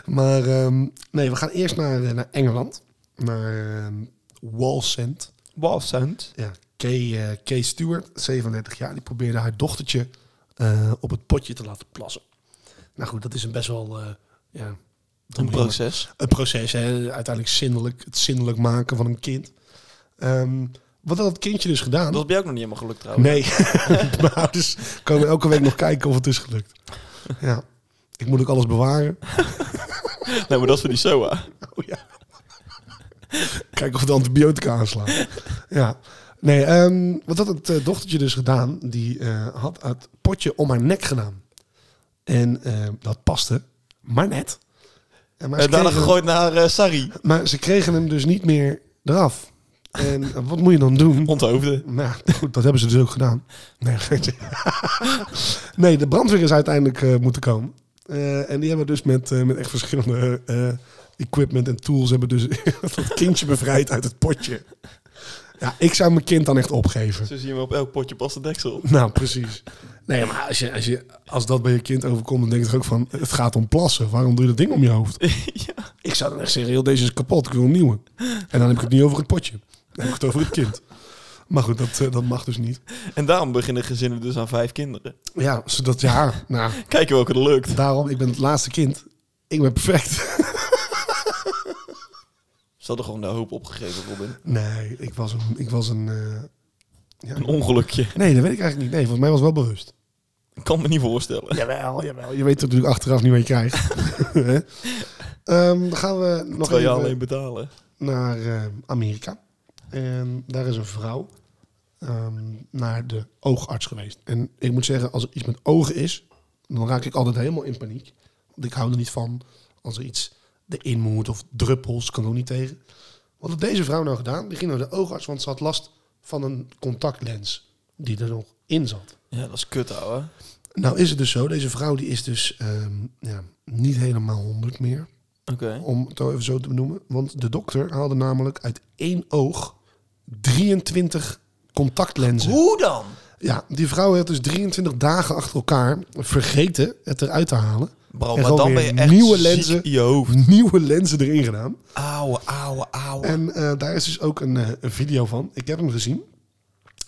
S1: Maar ehm, nee, we gaan eerst naar, eh, naar Engeland. Naar ehm, Wallsend.
S2: Wow, sound.
S1: Ja, Kay, eh, Kay Stewart, 37 jaar, die probeerde haar dochtertje eh, op het potje te laten plassen. Nou goed, dat is een best wel... eh, ja,
S2: Een proces.
S1: het proces, hè, uiteindelijk zinnelijk, het zinnelijk maken van een kind. Ehm, wat had dat kindje dus gedaan?
S2: Dat was bij jou ook nog niet helemaal gelukt trouwens.
S1: Nee, mijn ouders komen elke week nog kijken of het is gelukt. Ja, ik moet ook alles bewaren.
S2: Nee, maar dat is voor die SOA.
S1: Oh ja. Kijken of de antibiotica aanslaan. Ja. Nee, ehm, wat had het eh, dochtertje dus gedaan? Die eh, had het potje om haar nek gedaan. En eh, dat paste, maar net. En maar
S2: En
S1: ze
S2: daarna
S1: kregen-
S2: gegooid naar eh, Sarri.
S1: Maar ze kregen hem dus niet meer eraf. En wat moet je dan doen?
S2: Onthoofden.
S1: Nou, goed, dat hebben ze dus ook gedaan. Nee, geintje. nee de brandweer is uiteindelijk eh, moeten komen. Eh, en die hebben dus met, eh, met echt verschillende eh, equipment en tools... hebben dus dat kindje bevrijd uit het potje. Ja, ik zou mijn kind dan echt opgeven.
S2: Zo zie je hem op elk potje past de deksel.
S1: Nou, precies. Nee, maar als, je, als, je, als dat bij je kind overkomt... dan denk je toch ook van, het gaat om plassen. Waarom doe je dat ding om je hoofd?
S2: ja.
S1: Ik zou dan echt zeggen, heel deze is kapot, ik wil een nieuwe. En dan heb ik het niet over het potje. Dan heb ik het over het kind. Maar goed, dat, eh, dat mag dus niet.
S2: En daarom beginnen gezinnen dus aan vijf kinderen.
S1: Ja, zodat ja, nou,
S2: Kijken welke er lukt.
S1: daarom, ik ben het laatste kind. Ik ben perfect.
S2: Ze hadden gewoon de hoop opgegeven, Robin.
S1: Nee, ik was een... Ik was een eh, ja.
S2: Een ongelukje.
S1: Nee, dat weet ik eigenlijk niet. Nee, volgens mij was het wel bewust.
S2: Ik kan me niet voorstellen.
S1: Jawel, jawel. Je weet natuurlijk achteraf niet wat je krijgt. Hè? Ehm, dan gaan we nog
S2: Terwijl je
S1: even-
S2: alleen betalen.
S1: naar eh, Amerika. En daar is een vrouw ehm, naar de oogarts geweest. En ik moet zeggen, als er iets met ogen is, dan raak ik altijd helemaal in paniek. Want ik hou er niet van als er iets erin moet of druppels, kan er ook niet tegen. Wat had deze vrouw nou gedaan? Die ging naar de oogarts, want ze had last van een contactlens die er nog in zat.
S2: Ja, dat is kut, ouwe.
S1: Nou is het dus zo, deze vrouw die is dus ehm, ja, niet helemaal 100 meer
S2: Oké.
S1: om het even zo te benoemen. Want de dokter haalde namelijk uit één oog 23 contactlenzen.
S2: Hoe dan?
S1: Ja, die vrouw heeft dus 23 dagen achter elkaar vergeten het eruit te halen.
S2: Bro,
S1: En
S2: maar
S1: gewoon
S2: dan ben
S1: weer
S2: je echt
S1: nieuwe
S2: ziek
S1: lenzen.
S2: in je hoofd.
S1: Nieuwe lenzen erin gedaan.
S2: Auwe, auwe, auwe.
S1: En eh, daar is dus ook een, eh, een video van. Ik heb hem gezien.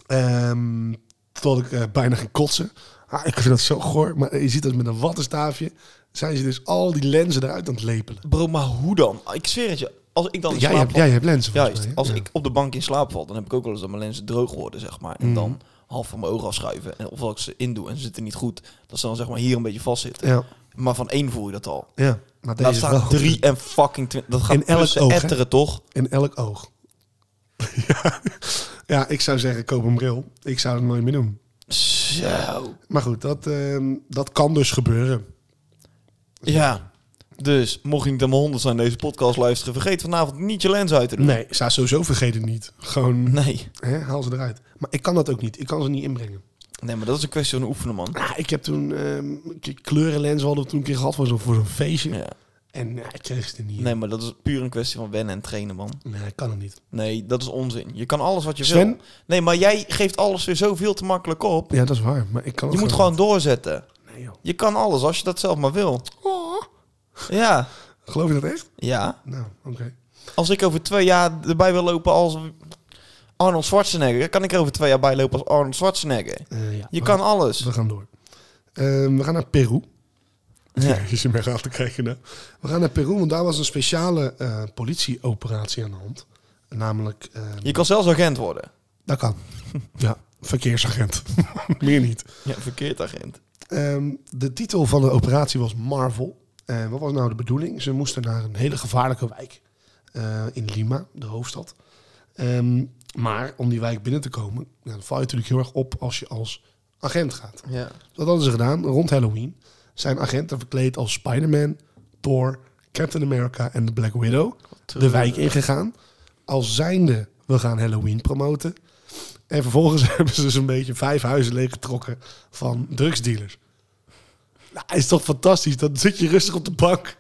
S1: Ehm tot ik eh, bijna ging kotsen. Ah, ik vind dat zo goor. Maar je ziet dat met een wattenstaafje. Zijn ze dus al die lenzen eruit aan het lepelen.
S2: Bro, maar hoe dan? Ik zweer het je. Als ik dan in
S1: Jij
S2: slaap
S1: hebt, jij hebt lenzen
S2: val...
S1: volgens
S2: Juist.
S1: mij, hè?
S2: Als
S1: Ja.
S2: ik op de bank in slaap val, dan heb ik ook wel eens dat mijn lenzen droog worden, zeg maar.
S1: Mm.
S2: En dan half van mijn ogen afschuiven. En of dat ik ze indoe en ze zitten niet goed. Dat ze dan zeg maar hier een beetje vastzitten.
S1: Ja,
S2: Maar van één voel je dat al.
S1: ja. Maar
S2: Laat
S1: deze
S2: staan
S1: vrouw-
S2: drie en fucking twintig. Dat gaat
S1: In elk
S2: tussen
S1: oog, hè?
S2: etteren, toch?
S1: In elk oog. ja. ja, ik zou zeggen, koop een bril. Ik zou het nooit meer doen.
S2: Zo.
S1: Maar goed, dat, ehm, dat kan dus gebeuren.
S2: Ja. Dus, mocht je niet helemaal honderd zijn deze podcast luisteren, vergeet vanavond niet je lens uit te doen.
S1: Nee, ik zou sowieso vergeten niet. Gewoon,
S2: Nee.
S1: hè, haal ze eruit. Maar ik kan dat ook niet. Ik kan ze niet inbrengen.
S2: Nee, maar dat is een kwestie van oefenen, man.
S1: Ah, ik heb toen ehm, een keer kleurenlens hadden we toen een keer gehad voor zo'n voor zo'n feestje.
S2: Ja.
S1: En eh, ik kreeg ze er niet. in.
S2: Nee, maar dat is puur een kwestie van wennen en trainen, man.
S1: Nee, ik kan het niet.
S2: Nee, dat is onzin. Je kan alles wat je
S1: Sven?
S2: wil. Nee, maar jij geeft alles weer zoveel te makkelijk op.
S1: Ja, dat is waar. Maar ik kan
S2: Je
S1: het
S2: moet gewoon doorzetten.
S1: Nee, joh.
S2: Je kan alles als je dat zelf maar wil.
S1: Oh.
S2: Ja.
S1: Geloof je dat echt?
S2: Ja.
S1: Nou, oké.
S2: Als ik over twee jaar erbij wil lopen als Arnold Schwarzenegger, kan ik er over twee jaar bij lopen als Arnold Schwarzenegger.
S1: Eh, ja.
S2: Je
S1: We
S2: kan
S1: gaan-
S2: alles.
S1: We gaan door. Ehm, we gaan naar Peru.
S2: Ja.
S1: Als je mij gaat te kijken. hè. We gaan naar Peru, want daar was een speciale eh, politieoperatie aan de hand. Namelijk, eh,
S2: Je kan zelfs agent worden.
S1: dat kan. ja, verkeersagent. Meer niet.
S2: Ja, verkeerd agent.
S1: Ehm, de titel van de operatie was Marvel. En wat was nou de bedoeling? Ze moesten naar een hele gevaarlijke wijk. Eh, eh, in Lima, de hoofdstad. Ehm, maar om die wijk binnen te komen, ja, dan val je natuurlijk heel erg op als je als agent gaat.
S2: Ja.
S1: Dus Wat hadden ze gedaan? Rond Halloween zijn agenten verkleed als Spider-Man, Thor, Captain America en de Black Widow de wijk ingegaan. Als zijnde, we gaan Halloween promoten. En vervolgens hebben ze dus een beetje vijf huizen leeggetrokken van drugsdealers. Nou, is toch fantastisch? Dan zit je rustig op de bank.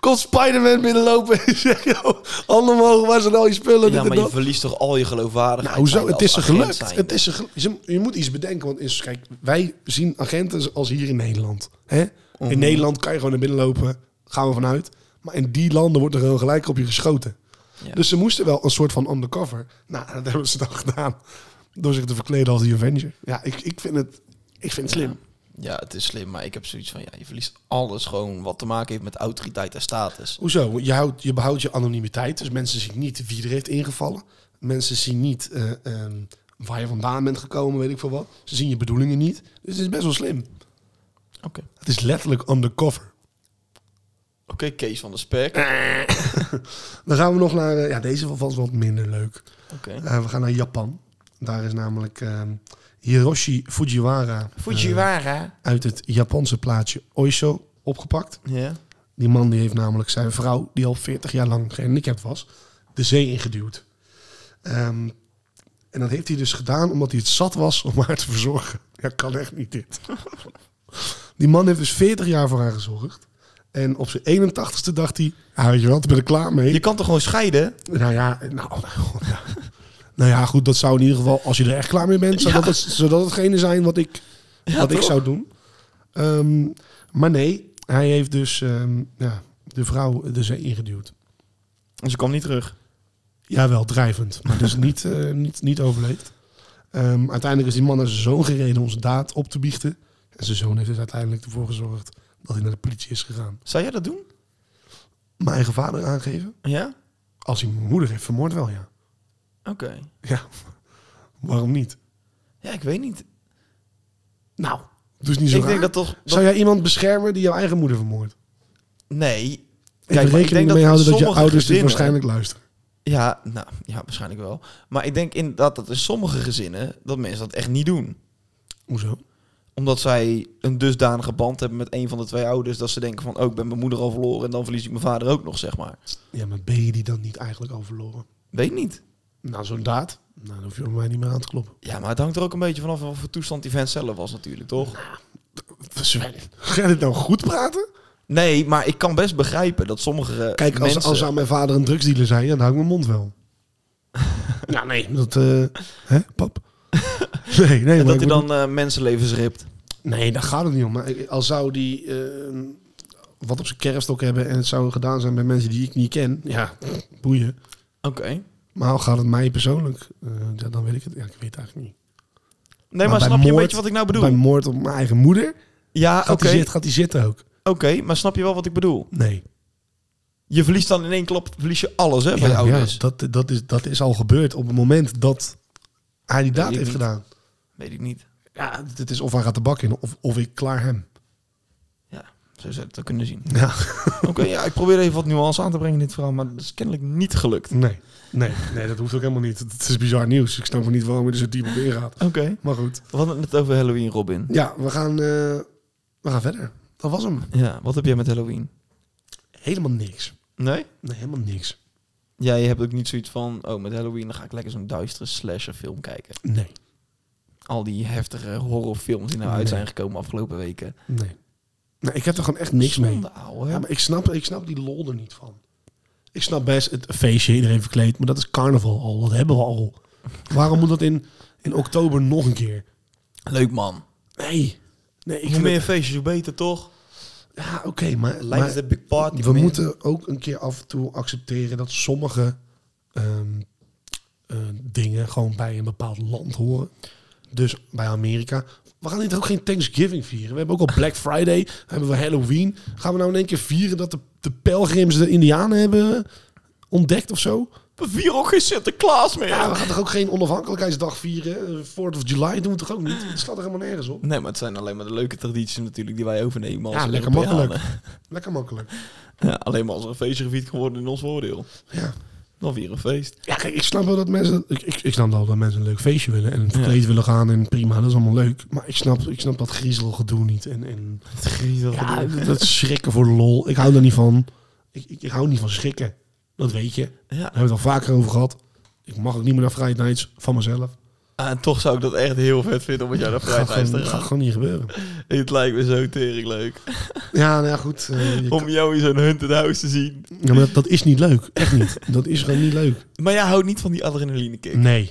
S1: Komt Spider-Man binnenlopen en zegt... "Yo, Handen omhoog, waar zijn al je spullen?
S2: Ja,
S1: Dit en
S2: maar je
S1: dat."
S2: verliest toch al je geloofwaardigheid.
S1: Nou, hoezo?
S2: bij
S1: Het is ze
S2: als agent
S1: gelukt.
S2: zijn.
S1: Het is ze gelu- Ze- je moet iets bedenken. Want is, kijk, wij zien agenten als hier in Nederland. Hè?
S2: Mhm.
S1: In Nederland kan je gewoon naar binnen lopen. Gaan we vanuit. Maar in die landen wordt er gewoon gelijk op je geschoten.
S2: Ja.
S1: Dus ze moesten wel een soort van undercover. Nou, dat hebben ze dan gedaan. Door zich te verkleden als die Avenger. Ja, ik, ik vind het... Ik vind het slim.
S2: Ja, het is slim, maar ik heb zoiets van, ja, je verliest alles gewoon wat te maken heeft met autoriteit en status.
S1: Hoezo? Je, houdt, je behoudt je anonimiteit. Dus mensen zien niet wie er heeft ingevallen. Mensen zien niet eh, ehm, waar je vandaan bent gekomen, weet ik veel wat. Ze zien je bedoelingen niet. Dus het is best wel slim.
S2: Oké.
S1: Het is letterlijk undercover.
S2: Oké, Kees van de Spek.
S1: Eh.
S2: Oké.
S1: Dan gaan we nog naar... eh, ja, deze was wat minder leuk. Eh, we gaan naar Japan. Daar is namelijk ehm, Hiroshi Fujiwara... eh,
S2: Fujiwara.
S1: uit het Japanse plaatsje Oiso opgepakt.
S2: Ja.
S1: Die man die heeft namelijk zijn vrouw, die al 40 jaar lang gehandicapt was, de zee ingeduwd. Ehm, en dat heeft hij dus gedaan omdat hij het zat was om haar te verzorgen. Ja, kan echt niet dit. Die man heeft dus 40 jaar voor haar gezorgd. En op zijn 81ste dacht hij, ah, weet je wat, ik ben er klaar mee.
S2: Je kan toch gewoon scheiden?
S1: Nou ja, nou, nou, ja. nou ja, goed, dat zou in ieder geval, als je er echt klaar mee bent, zou,
S2: Ja.
S1: dat, het, zou dat hetgene zijn wat ik, wat ik
S2: toch?
S1: zou doen. Ehm, maar nee, hij heeft dus ehm, ja, de vrouw de zee ingeduwd.
S2: Ze kwam niet terug.
S1: Jawel, drijvend, maar dus niet, eh, niet, niet overleefd. Ehm, uiteindelijk is die man naar zijn zoon gereden om zijn daad op te biechten. En zijn zoon heeft dus uiteindelijk ervoor gezorgd dat hij naar de politie is gegaan.
S2: Zou jij dat doen?
S1: Mijn eigen vader aangeven?
S2: Ja?
S1: Als hij mijn moeder heeft vermoord, wel ja.
S2: Oké.
S1: Ja, waarom niet?
S2: Ja, ik weet niet.
S1: Nou, dus niet zo
S2: ik
S1: raar.
S2: denk dat toch... dat-
S1: Zou jij iemand beschermen die jouw eigen moeder vermoordt?
S2: Nee.
S1: Kijk,
S2: maar ik denk
S1: rekening
S2: dat
S1: mee
S2: in
S1: houden dat je
S2: sommige
S1: ouders dit
S2: gezinnen-
S1: waarschijnlijk luisteren.
S2: Ja, nou, ja, waarschijnlijk wel. Maar ik denk inderdaad dat in sommige gezinnen dat mensen dat echt niet doen.
S1: Hoezo?
S2: Omdat zij een dusdanige band hebben met een van de twee ouders... dat ze denken van, oh, ik ben mijn moeder al verloren... en dan verlies ik mijn vader ook nog, zeg maar.
S1: Ja, maar ben je die dan niet eigenlijk al verloren?
S2: Weet niet.
S1: Nou, zo'n daad, nou, dan hoef je om mij niet meer aan te kloppen.
S2: Ja, maar het hangt er ook een beetje vanaf wat voor toestand die vent zelf was natuurlijk, toch?
S1: Sven, ga je dit nou goed praten?
S2: Nee, maar ik kan best begrijpen dat sommige eh,
S1: Kijk, als,
S2: mensen...
S1: als aan mijn vader een drugsdealer zijn, ja, dan hou ik mijn mond wel. nou, nee. Dat, eh, hè, pap? Nee, nee.
S2: en
S1: maar
S2: dat
S1: ik
S2: hij
S1: bedoel-
S2: dan eh, mensenlevens ript.
S1: Nee, daar gaat het niet om. Maar ik- al zou die eh, wat op zijn kerfstok hebben en het zou gedaan zijn bij mensen die ik niet ken, ja, boeien.
S2: Oké.
S1: Maar hoe gaat het mij persoonlijk? Eh, ja, dan weet ik het. Ja, ik weet het eigenlijk niet.
S2: Nee, maar,
S1: bij
S2: snap je een
S1: moord-
S2: beetje wat ik nou bedoel?
S1: Bij moord op mijn eigen moeder?
S2: Ja, oké.
S1: Gaat, die zit, gaat die zitten ook?
S2: Oké, maar snap je wel wat ik bedoel?
S1: Nee.
S2: Je verliest dan in één klap verlies je alles, hè, van je ouders.
S1: dat, dat, is, dat is al gebeurd op het moment dat hij die daad
S2: ik
S1: heeft
S2: niet.
S1: gedaan.
S2: Weet ik niet.
S1: Ja, dit is of hij gaat de bak in of, of ik klaar hem.
S2: Ja, zo zou je het ook kunnen zien.
S1: Ja.
S2: Oké, ja, ik probeer even wat nuance aan te brengen in dit verhaal... maar dat is kennelijk niet gelukt.
S1: Nee. Nee, nee, dat hoeft ook helemaal niet. Het is bizar nieuws. Ik snap ook niet waarom je er zo diep op ingaat.
S2: Oké.
S1: Maar goed.
S2: We hadden het net over Halloween, Robin.
S1: Ja, we gaan, eh, we gaan verder. Dat was hem.
S2: Ja, wat heb jij met Halloween?
S1: Helemaal niks.
S2: Nee?
S1: Nee, helemaal niks.
S2: Ja, je hebt ook niet zoiets van... oh, met Halloween dan ga ik lekker zo'n duistere slasherfilm kijken.
S1: Nee.
S2: Al die heftige horrorfilms die nou
S1: Nee.
S2: uit zijn gekomen afgelopen weken.
S1: Nee. nee ik heb er gewoon echt niks mee.
S2: Zonde, ouwe.
S1: Ja, maar ik snap, ik snap die lol er niet van. Ik snap best het feestje, iedereen verkleed, maar dat is carnaval al. Dat hebben we al. Waarom moet dat in, in oktober nog een keer?
S2: Leuk, man.
S1: Nee. Nee, ik
S2: Hoe
S1: vind
S2: meer
S1: het-
S2: feestjes, hoe beter, toch?
S1: ja, oké, maar,
S2: Life
S1: maar
S2: is the big party,
S1: we
S2: man.
S1: moeten ook een keer af en toe accepteren dat sommige ehm, eh, dingen gewoon bij een bepaald land horen. Dus bij Amerika. We gaan dit ook geen Thanksgiving vieren. We hebben ook al Black Friday. Hebben we Halloween. Gaan we nou in één keer vieren dat de, de pelgrims de Indianen hebben ontdekt of zo?
S2: We vieren ook geen Sinterklaas meer.
S1: Ja, we gaan toch ook geen onafhankelijkheidsdag vieren? Eh, 4th of July doen we toch ook niet? Het slaat er helemaal nergens op.
S2: Nee, maar het zijn alleen maar de leuke tradities natuurlijk die wij overnemen. Als
S1: Ja, lekker
S2: Europeanen.
S1: Lekker makkelijk.
S2: Ja, alleen maar als er een feestje gevierd kan worden in ons voordeel.
S1: Ja.
S2: Dan weer een feest.
S1: Ja, kijk, ik snap wel dat mensen. Ik, ik, ik snap wel dat mensen een leuk feestje willen en verkleed willen gaan en prima, dat is allemaal leuk. Maar ik snap, ik snap dat griezelgedoe niet. En, en
S2: Het griezel.
S1: ja, dat, dat schrikken voor de lol. Ik hou daar niet van. Ik, ik, ik hou niet van schrikken. Dat weet je. Daar
S2: ja.
S1: hebben we het al vaker over gehad. Ik mag ook niet meer naar Friday Nights van mezelf.
S2: Ah, en toch zou ik dat echt heel vet vinden om met jou naar
S1: Gaat
S2: vrijheid te
S1: gewoon, gaat
S2: gaan.
S1: gewoon niet gebeuren.
S2: Het lijkt me zo tering leuk.
S1: Ja, nou ja, goed. eh, je
S2: Om jou in zo'n hunted house te zien.
S1: kan- ja, maar dat, dat is niet leuk. Echt niet. Dat is gewoon niet leuk.
S2: Maar jij houdt niet van die adrenaline kick.
S1: Nee.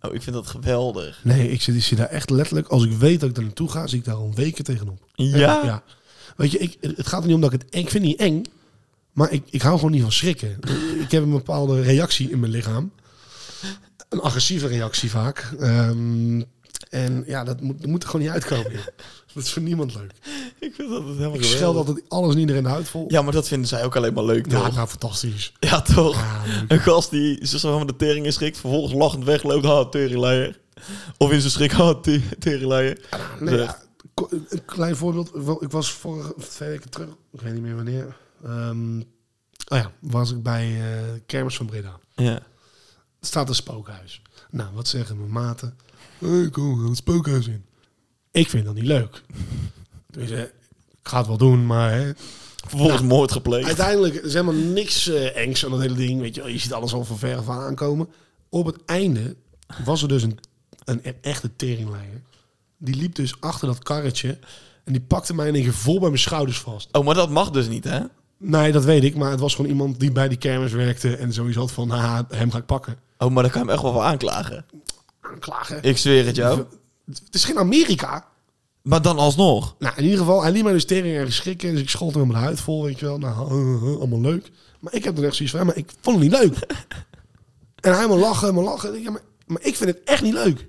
S2: Oh, ik vind dat geweldig.
S1: Nee, ik zit, ik zit daar echt letterlijk. Als ik weet dat ik daar naartoe ga, zie ik daar al weken tegenop.
S2: Ja?
S1: Ja. Weet je, ik, het gaat er niet om dat ik het eng ik vind. Het niet eng, maar ik, ik hou gewoon niet van schrikken. ik heb een bepaalde reactie in mijn lichaam. Een agressieve reactie vaak. Ehm, en ja, dat moet, dat moet er gewoon niet uitkomen. joh. dat is voor niemand leuk.
S2: Ik vind dat het helemaal
S1: Ik
S2: geweldig.
S1: scheld altijd alles en iedereen de huid vol.
S2: Ja, maar dat vinden zij ook alleen maar leuk,
S1: Ja,
S2: toch?
S1: nou, fantastisch.
S2: Ja, toch?
S1: Ja, leuk.
S2: Een gast die zich zo van de tering in schrikt, vervolgens lachend wegloopt, ha, teringleier. Of in zijn schrik, ha, te- teringleier.
S1: Nee,
S2: Zeg.
S1: Nou ja, ko- een klein voorbeeld. Wel, Ik was vorige of twee weken terug, ik weet niet meer wanneer. Ehm, oh ja, was ik bij eh, Kermis van Breda.
S2: Ja.
S1: Er staat een spookhuis. Nou, wat zeggen mijn maten? Hey, kom, we gaan het spookhuis in. Ik vind dat niet leuk. Dus, eh, ik ga het wel doen, maar... Hè.
S2: Vervolgens moord gepleegd.
S1: Nou. Uiteindelijk er is helemaal niks eh, engs aan dat hele ding. Weet je, wel, je ziet alles al van ver af aan aankomen. Op het einde was er dus een, een e- echte teringleier. Die liep dus achter dat karretje. En die pakte mij in één keer vol bij mijn schouders vast.
S2: Oh, maar dat mag dus niet, hè?
S1: Nee, dat weet ik. Maar het was gewoon iemand die bij die kermis werkte. En sowieso had van, haha, hem ga ik pakken.
S2: Oh, maar daar kan je hem echt wel voor aanklagen.
S1: Aanklagen.
S2: Ik zweer het jou.
S1: Het is geen Amerika.
S2: Maar dan alsnog.
S1: Nou, in ieder geval, hij liet mij dus tering en schrikken. Dus ik schold hem helemaal de huid vol, weet je wel. Nou, eh, eh, allemaal leuk. Maar ik heb er echt zoiets van, ja, maar ik vond het niet leuk. en hij maar lachen, maar lachen. Ja, maar, maar ik vind het echt niet leuk.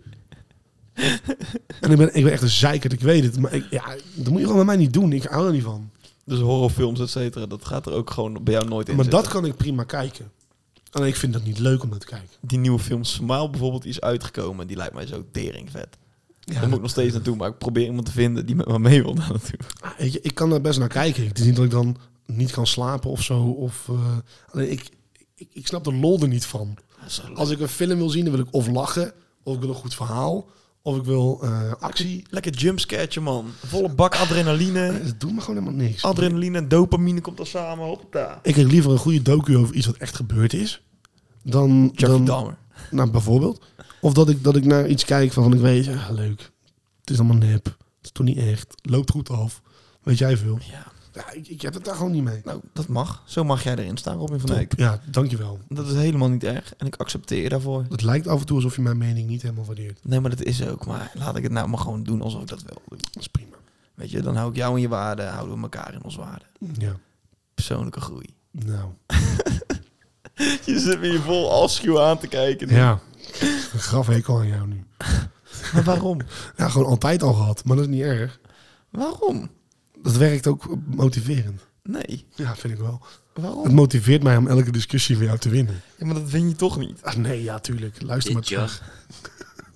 S1: en ik ben, ik ben echt een zeikert, ik weet het. Maar ik, ja, dat moet je gewoon bij mij niet doen. Ik hou er niet van.
S2: Dus horrorfilms, et cetera, dat gaat er ook gewoon bij jou nooit in
S1: Maar dat
S2: zitten.
S1: kan ik prima kijken. Alleen ik vind dat niet leuk om dat te kijken.
S2: Die nieuwe film Smile bijvoorbeeld, die is uitgekomen. Die lijkt mij zo teringvet.
S1: Ja,
S2: daar moet ik nog steeds naartoe, maar ik probeer iemand te vinden die met me mee wil daar naartoe.
S1: Ah, Weet je, ik kan daar best naar kijken. Het is niet dat ik dan niet kan slapen of zo. Of, eh, alleen ik, ik, ik snap de lol er niet van. Als ik een film wil zien, dan wil ik of lachen, of ik wil een goed verhaal, of ik wil eh, actie.
S2: Lekker jumpscatje, man. Volle bak adrenaline.
S1: Het doet me gewoon helemaal niks.
S2: Adrenaline en dopamine komt er samen op. daar.
S1: Ik kijk liever een goede docu over iets wat echt gebeurd is, dan, dan
S2: Dahmer.
S1: nou, bijvoorbeeld. Of dat ik, dat ik naar iets kijk waarvan ik weet, ja, leuk, het is allemaal nep, het is toch niet echt, loopt goed af, weet jij veel.
S2: Ja,
S1: Ja, ik, ik heb het daar gewoon niet mee.
S2: nou, dat mag. Zo mag jij erin staan, Robin van Dijk.
S1: Top. Ja, dankjewel.
S2: Dat is helemaal niet erg en ik accepteer je daarvoor.
S1: Het lijkt af en toe alsof je mijn mening niet helemaal waardeert.
S2: Nee, maar dat is ook. Maar laat ik het nou maar gewoon doen alsof ik dat wel doe.
S1: Dat is prima.
S2: Weet je, dan hou ik jou in je waarde, houden we elkaar in ons waarde.
S1: Ja,
S2: Persoonlijke groei.
S1: nou.
S2: Je zit me hier vol afschuw aan te kijken.
S1: Ja, een graf hekel aan jou nu.
S2: Maar waarom?
S1: Ja, gewoon altijd al gehad, maar dat is niet erg.
S2: Waarom?
S1: Dat werkt ook motiverend.
S2: Nee,
S1: Ja, vind ik wel. Het
S2: waarom?
S1: motiveert mij om elke discussie weer jou te winnen.
S2: Ja, maar dat vind je toch niet.
S1: Ah, nee, ja, tuurlijk. Luister maar
S3: Dit, ja,
S1: terug.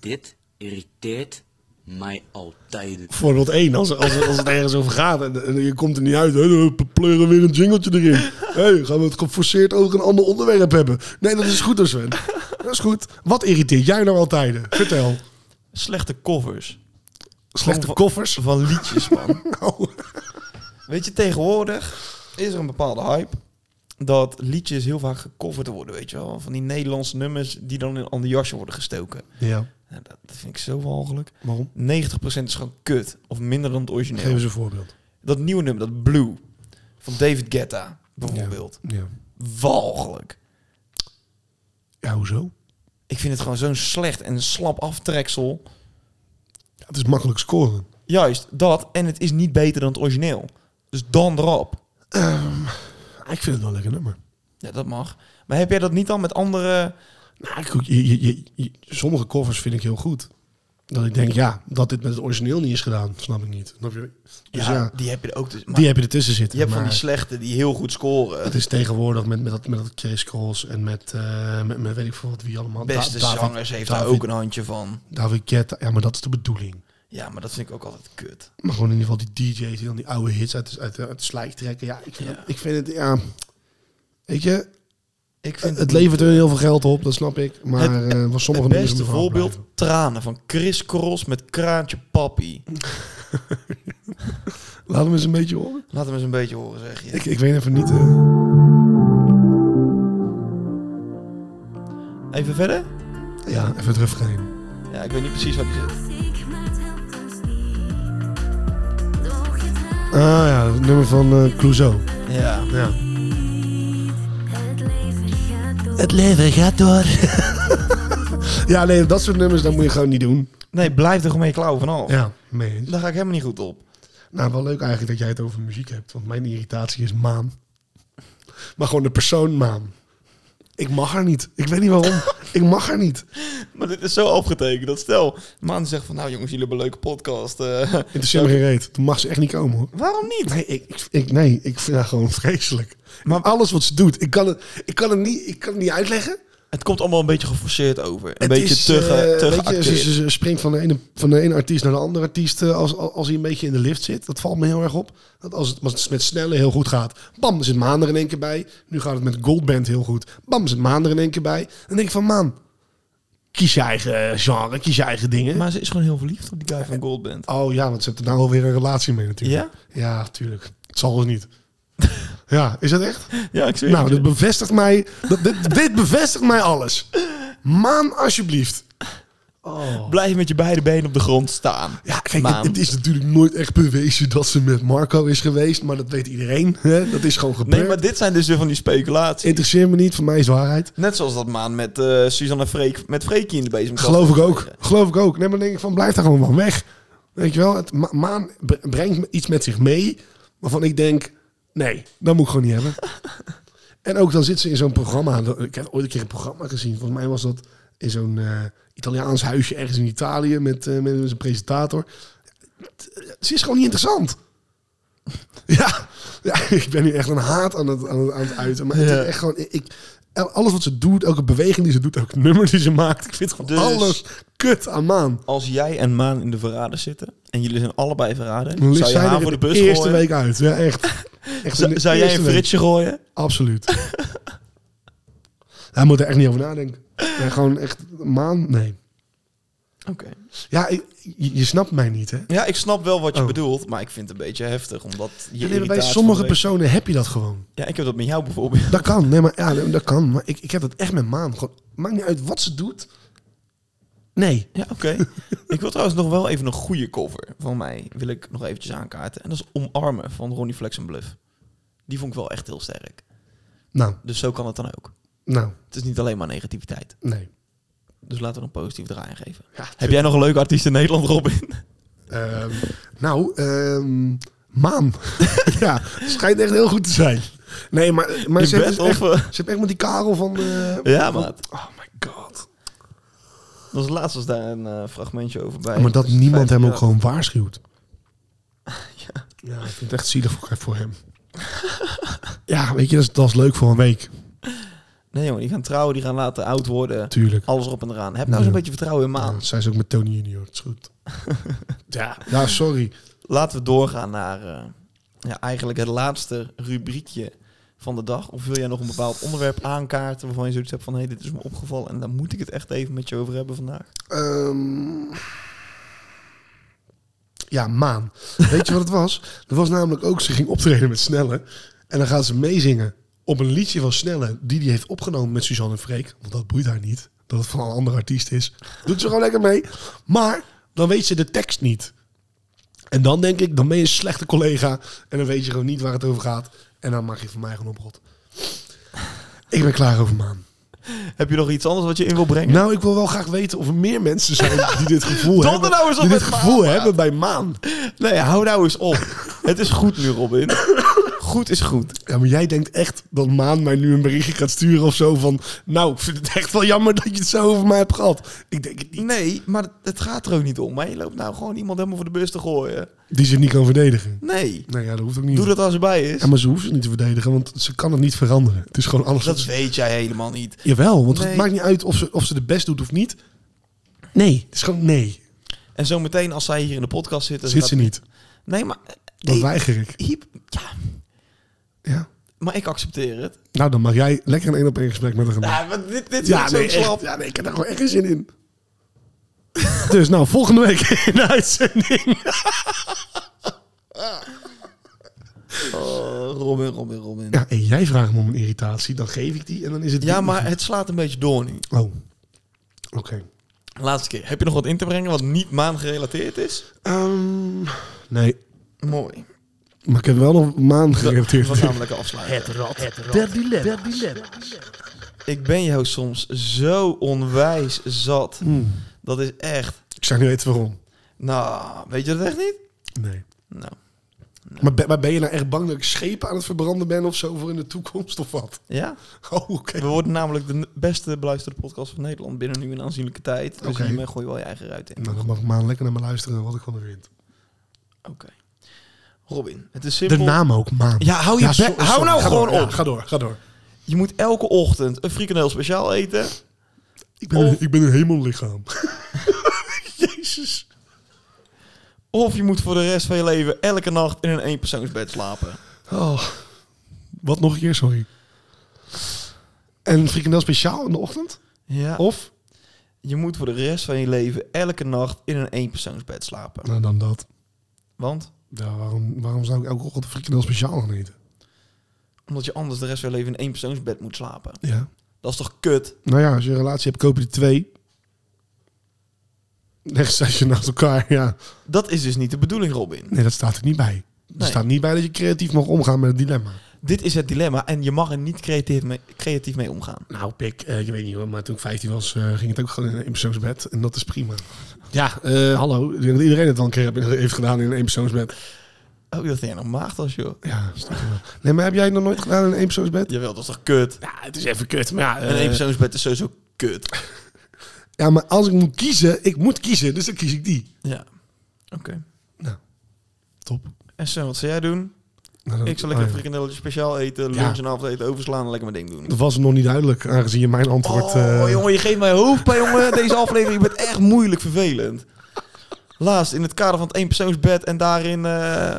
S3: dit irriteert mij altijd.
S1: Voorbeeld 1, als, als, als het ergens over gaat en, en je komt er niet uit. Hè, dan pleuren weer een jingeltje erin. hey, gaan we het geforceerd over een ander onderwerp hebben? Nee, dat is goed hoor, Sven. Dat is goed. Wat irriteert jij nou altijd? Vertel.
S2: Slechte covers.
S1: Slechte
S2: Gewoon
S1: koffers?
S2: Van liedjes, man.
S1: Oh.
S2: Weet je, tegenwoordig is er een bepaalde hype dat liedjes heel vaak gecoverd worden, weet je wel. Van die Nederlandse nummers die dan in een ander jasje worden gestoken.
S1: Ja,
S2: Nou, dat vind ik zo walgelijk. 90%
S1: waarom?
S2: is gewoon kut, of minder dan het
S1: Geef
S2: origineel.
S1: eens een voorbeeld.
S2: Dat nieuwe nummer, dat Blue, van David Guetta, bijvoorbeeld.
S1: Ja.
S2: Walgelijk.
S1: Ja, hoezo?
S2: Ik vind het gewoon zo'n slecht en slap aftreksel.
S1: Ja, het is makkelijk scoren.
S2: Juist, dat. En het is niet beter dan het origineel. Dus dan erop.
S1: Ik vind het wel een lekker nummer.
S2: Ja, dat mag. Maar heb jij dat niet dan met andere...
S1: Nou, ik- je- je- je- je- sommige covers vind ik heel goed. Dat ik denk, ja, dat dit met het origineel niet is gedaan, snap ik niet. Snap je? Dus ja,
S2: die heb je er ook. Dus, maar
S1: die heb je ertussen zitten.
S2: je hebt van
S1: maar
S2: die slechte die heel goed scoren.
S1: het is tegenwoordig met, met, dat, met dat Chase Cross en met, eh, met, met weet ik veel wat wie allemaal. Da-
S2: Beste
S1: David-
S2: zangers heeft daar
S1: David-
S2: ook een handje van.
S1: David Guetta, ja, maar dat is de bedoeling.
S2: Ja, maar dat vind ik ook altijd kut.
S1: Maar gewoon in ieder geval die DJ's die dan die oude hits uit, uit, uit het slijk trekken. Ja, ik vind,
S2: Ja.
S1: Het, ik vind het, ja... Weet je,
S2: Ik vind
S1: het levert er heel veel geld op, dat snap ik. Maar
S2: Het-
S1: eh, was sommige
S2: Eh, het
S1: nummers
S2: beste
S1: moeten gewoon
S2: voorbeeld,
S1: blijven.
S2: tranen van Chris Cross met Kraantje Papi.
S1: Laat hem eens een beetje horen.
S2: Laat hem eens een beetje horen, zeg je.
S1: Ik, ik weet even niet... eh.
S2: Even verder?
S1: ja, even het refrein.
S2: Ja, ik weet niet precies wat die zit.
S1: Ah ja, het nummer van eh, Clouseau.
S2: Ja.
S1: Ja.
S4: Het leven gaat door.
S1: ja, nee, dat soort nummers, dat moet je gewoon niet doen.
S2: Nee, blijf er gewoon mee klauw vanaf.
S1: Ja, mee eens.
S2: Daar ga ik helemaal niet goed op.
S1: Nou, wel leuk eigenlijk dat jij het over muziek hebt, want mijn irritatie is maan. Maar gewoon de persoon maan. Ik mag haar niet. Ik weet niet waarom. ik mag haar niet.
S2: Maar dit is zo afgetekend. Dat stel, Maan zegt van, nou jongens, jullie hebben een leuke podcast. eh.
S1: Interesseer me geen reet. Dan mag ze echt niet komen hoor.
S2: Waarom niet?
S1: Nee, ik, ik, ik- nee, ik vind haar gewoon vreselijk.
S2: Maar-
S1: Maar alles wat ze doet, ik kan het, ik kan het, niet, ik kan het niet uitleggen.
S2: Het komt allemaal een beetje geforceerd over. Een
S1: Het
S2: beetje
S1: is,
S2: te, ge-
S1: eh,
S2: te
S1: weet je,
S2: geacteerd.
S1: ze, ze- ze springt van de, ene, van de ene artiest naar de andere artiest eh, als, als, als hij een beetje in de lift zit. Dat valt me heel erg op. Dat als, het, als het met snelle heel goed gaat, bam, zit Maan er in één keer bij. Nu gaat het met Goldband heel goed, bam, zit Maan er in één keer bij. Dan denk ik van, Maan, kies je eigen genre, kies je eigen dingen.
S2: Maar ze is gewoon heel verliefd op die guy van Goldband.
S1: oh ja, want ze heeft er nou alweer een relatie mee natuurlijk.
S2: Ja?
S1: Ja, tuurlijk. Het zal wel niet. ja, is dat echt?
S2: Ja, ik zie
S1: Nou, dit bevestigt mij, dat, dit, dit bevestigt mij alles. Maan, alsjeblieft. Oh.
S2: Blijf met je beide benen op de grond staan.
S1: Ja, kijk,
S2: Maan.
S1: het, het is natuurlijk nooit echt bewezen dat ze met Marco is geweest, maar dat weet iedereen. Hè? Dat is gewoon gebeurd.
S2: Nee, maar dit zijn dus weer van die speculaties.
S1: Interesseer me niet, voor mij is waarheid.
S2: Net zoals dat Maan met eh Suzanne en Freek, met Freekje in de bezem.
S1: Geloof ik ook. Geloof ik ook. Nee, maar dan denk ik van, blijf daar gewoon van weg. Weet je wel, het ma- maan br- brengt me iets met zich mee, waarvan ik denk, nee, dat moet ik gewoon niet hebben. en ook dan zit ze in zo'n programma. Ik heb ooit een keer een programma gezien. Volgens mij was dat in zo'n eh, Italiaans huisje ergens in Italië met, eh, met zijn presentator. Ze is gewoon niet interessant. Ja, ja, ik ben nu echt een haat aan het, aan het, aan het uiten. Maar het
S2: Ja.
S1: is echt gewoon... Ik, alles wat ze doet, elke beweging die ze doet, elk nummer die ze maakt. Ik vind gewoon
S2: Dus-
S1: alles kut aan Maan.
S2: Als jij en Maan in de verrader zitten en jullie zijn allebei verraden,
S1: Dan ligt
S2: zou je
S1: zij
S2: haar
S1: er
S2: voor de
S1: in
S2: bus
S1: eerste
S2: gooien?
S1: week uit. Ja, echt. echt in
S2: Zou,
S1: de
S2: zou jij
S1: eerste
S2: een
S1: week.
S2: fritsje gooien?
S1: Absoluut. Hij moet er echt niet over nadenken. Ja, gewoon echt Maan, nee.
S2: Oké.
S1: Ja, ik- je, je snapt mij niet, hè?
S2: Ja, ik snap wel wat je
S1: Oh.
S2: bedoelt, maar ik vind het een beetje heftig, omdat
S1: Ja,
S2: je
S1: nee, maar bij
S2: irritatie
S1: sommige
S2: van de-
S1: personen heb je dat gewoon.
S2: Ja, ik heb dat met jou bijvoorbeeld.
S1: Dat kan, nee, maar ja, dat kan. Maar ik, ik heb dat echt met Maan. Gewoon, maakt niet uit wat ze doet. Nee.
S2: Ja, oké. ik wil trouwens nog wel even een goede cover van mij, wil ik nog eventjes aankaarten. En dat is Omarmen van Ronnie Flex en Bluff. Die vond ik wel echt heel sterk.
S1: Nou,
S2: Dus zo kan het dan ook.
S1: nou,
S2: Het is niet alleen maar negativiteit.
S1: nee.
S2: Dus laten we er een positief draai aan geven.
S1: Ja,
S2: Heb jij nog een leuke artiest in Nederland, Robin?
S1: Ehm, nou, ehm, Maan. ja, schijnt echt heel goed te zijn. Nee, maar, maar
S2: In
S1: ze, hebben
S2: bed
S1: dus echt,
S2: of, eh?
S1: ze hebben echt met die karel van... eh,
S2: Ja,
S1: van-
S2: maat.
S1: Oh my god.
S2: Dat was laatst was daar een eh, fragmentje over bij.
S1: Maar dat
S2: Dus
S1: niemand hem ook
S2: vijftig
S1: gewoon waarschuwt. ja. ik vind het echt zielig voor, voor hem. ja, weet je, dat is, dat is leuk voor een week,
S2: jaar. Nee jongen, die gaan trouwen, die gaan later oud worden.
S1: natuurlijk.
S2: Alles erop en eraan. Heb nou eens een
S1: Ja.
S2: beetje vertrouwen in Maan.
S1: Ja, zijn ze ook met Tony Junior, het is goed. ja. ja, sorry.
S2: Laten we doorgaan naar eh, ja, eigenlijk het laatste rubriekje van de dag. Of wil jij nog een bepaald onderwerp aankaarten waarvan je zoiets hebt van... hé, dit is me opgevallen en daar moet ik het echt even met je over hebben vandaag.
S1: Ehm, ja, Maan. Weet je wat het was? Er was namelijk ook, ze ging optreden met Snelle. En dan gaat ze meezingen op een liedje van Snelle... die die heeft opgenomen met Suzanne en Freek. Want dat boeit haar niet, dat het van een andere artiest is. Doet ze gewoon lekker mee. Maar dan weet ze de tekst niet. En dan denk ik, dan ben je een slechte collega... en dan weet je gewoon niet waar het over gaat. En dan mag je van mij gewoon oprot. Ik ben klaar over Maan.
S2: Heb je nog iets anders wat je in wil brengen?
S1: Nou, ik wil wel graag weten of er meer mensen zijn die dit gevoel
S2: Donder
S1: hebben.
S2: nou eens op
S1: die dit
S2: met
S1: gevoel
S2: Maan,
S1: hebben bij Maan.
S2: Nee, hou nou eens op. het is goed nu, Robin. Goed is goed.
S1: Ja, maar jij denkt echt dat Maan mij nu een berichtje gaat sturen of zo van... Nou, ik vind het echt wel jammer dat je het zo over mij hebt gehad. Ik denk het niet.
S2: Nee, maar het gaat er ook niet om. Maar je loopt nou gewoon iemand helemaal voor de bus te gooien.
S1: Die zich niet kan verdedigen.
S2: Nee.
S1: Nou ja, dat hoeft ook niet.
S2: Doe dat als erbij is.
S1: Ja, maar ze hoeft het niet te verdedigen, want ze kan het niet veranderen. Het is gewoon alles wat
S2: Dat
S1: ze-
S2: weet jij helemaal niet.
S1: Jawel, want het
S2: Nee.
S1: maakt niet uit of ze, of ze de best doet of niet. Nee. Het is gewoon nee.
S2: En zometeen als zij hier in de podcast zitten...
S1: Zit ze
S2: gaat-
S1: niet.
S2: Nee, maar... eh,
S1: Dat
S2: ik-
S1: weiger ik.
S2: Hiep, ja,
S1: Ja.
S2: maar ik accepteer het.
S1: Nou, dan mag jij lekker een één-op-één gesprek met haar gaan doen.
S2: Ja, maar dit, dit
S1: Ja,
S2: is
S1: nee,
S2: zo slap.
S1: echt. ja, nee, ik heb daar gewoon echt geen zin in. dus nou, volgende week in de uitzending.
S2: Oh, Robin, Robin, Robin. Ja.
S1: Ja, en jij vraagt me om een irritatie, dan geef ik die en dan is het... weer-
S2: maar het slaat een beetje door nu.
S1: Oh, oké.
S2: Laatste keer. Heb je nog wat in te brengen wat niet maan gerelateerd is?
S1: Ehm, nee,
S2: Mooi.
S1: maar ik heb wel nog maand gerelateerd.
S2: We gaan we lekker afsluiten. Ik ben jou soms zo onwijs zat. Dat is echt...
S1: Ik zou niet weten waarom.
S2: Nou, weet je dat echt niet?
S1: Nee.
S2: Nou,
S1: Maar ben, maar ben je nou echt bang dat ik schepen aan het verbranden ben of zo voor in de toekomst of wat?
S2: ja.
S1: Oh, oké.
S2: We worden namelijk de n- beste beluisterde podcast van Nederland binnen nu een aanzienlijke tijd. Dus
S1: Oké.
S2: hiermee gooi je wel je eigen ruit in.
S1: Nou, dan mag Maan lekker naar me luisteren wat ik van haar vind.
S2: Oké. Robin, het is
S1: De
S2: simpel.
S1: naam ook, Maan.
S2: Ja, hou je bek-
S1: sorry,
S2: hou
S1: sorry.
S2: nou
S1: Ga
S2: gewoon
S1: door, ja,
S2: op.
S1: ga door, ga door.
S2: Je moet elke ochtend een frikandel speciaal eten.
S1: Ik ben,
S2: Of-
S1: een, ik ben een hemellichaam. Jezus.
S2: Of je moet voor de rest van je leven elke nacht in een eenpersoonsbed slapen.
S1: Oh. Wat nog een keer, sorry. En frikandel speciaal in de ochtend?
S2: Ja. Of
S1: Of?
S2: je moet voor de rest van je leven elke nacht in een eenpersoonsbed slapen.
S1: Nou, dan dat.
S2: Want?
S1: Ja, waarom, waarom zou ik elke ochtend een frikandel speciaal gaan eten?
S2: Omdat je anders de rest van je leven in een eenpersoonsbed moet slapen.
S1: Ja.
S2: Dat is toch kut?
S1: Nou ja, als je een relatie hebt, koop je er twee. Rechtstation naast elkaar, ja.
S2: Dat is dus niet de bedoeling, Robin.
S1: Nee, dat staat er niet bij. Er
S2: Nee.
S1: staat niet bij dat je creatief mag omgaan met het dilemma.
S2: Dit is het dilemma en je mag er niet creatief mee, creatief mee omgaan.
S1: Nou, pik, eh, ik weet niet hoor, maar toen ik 15 was, eh, ging het ook gewoon in een eenpersoonsbed. En dat is prima. Ja, eh, hallo. Ik denk dat iedereen het dan een keer heb- heeft gedaan in een eenpersoonsbed.
S2: Oh, dat jij nog maagd als joh.
S1: Ja, stiekem wel. Nee, maar heb jij het nog nooit gedaan in een eenpersoonsbed?
S2: Jawel, dat is toch kut? Eh,
S1: Ja, het is even kut, maar ja... eh,
S2: Een eenpersoonsbed is sowieso kut.
S1: ja, maar als ik moet kiezen, ik moet kiezen, dus dan kies ik die.
S2: Ja. Oké.
S1: Top.
S2: En Sven, wat zou jij doen?
S1: Nou, dat-
S2: Ik zal lekker
S1: oh
S2: een
S1: ja.
S2: frikandelletje speciaal eten,
S1: Ja.
S2: lunch en avondeten overslaan en lekker mijn ding doen.
S1: Dat was nog niet duidelijk, aangezien je mijn antwoord...
S2: Oh,
S1: eh,
S2: jongen, je geeft mij hoofdpijn, jongen. Deze aflevering bent echt moeilijk vervelend. Laatst, in het kader van het eenpersoonsbed en daarin eh,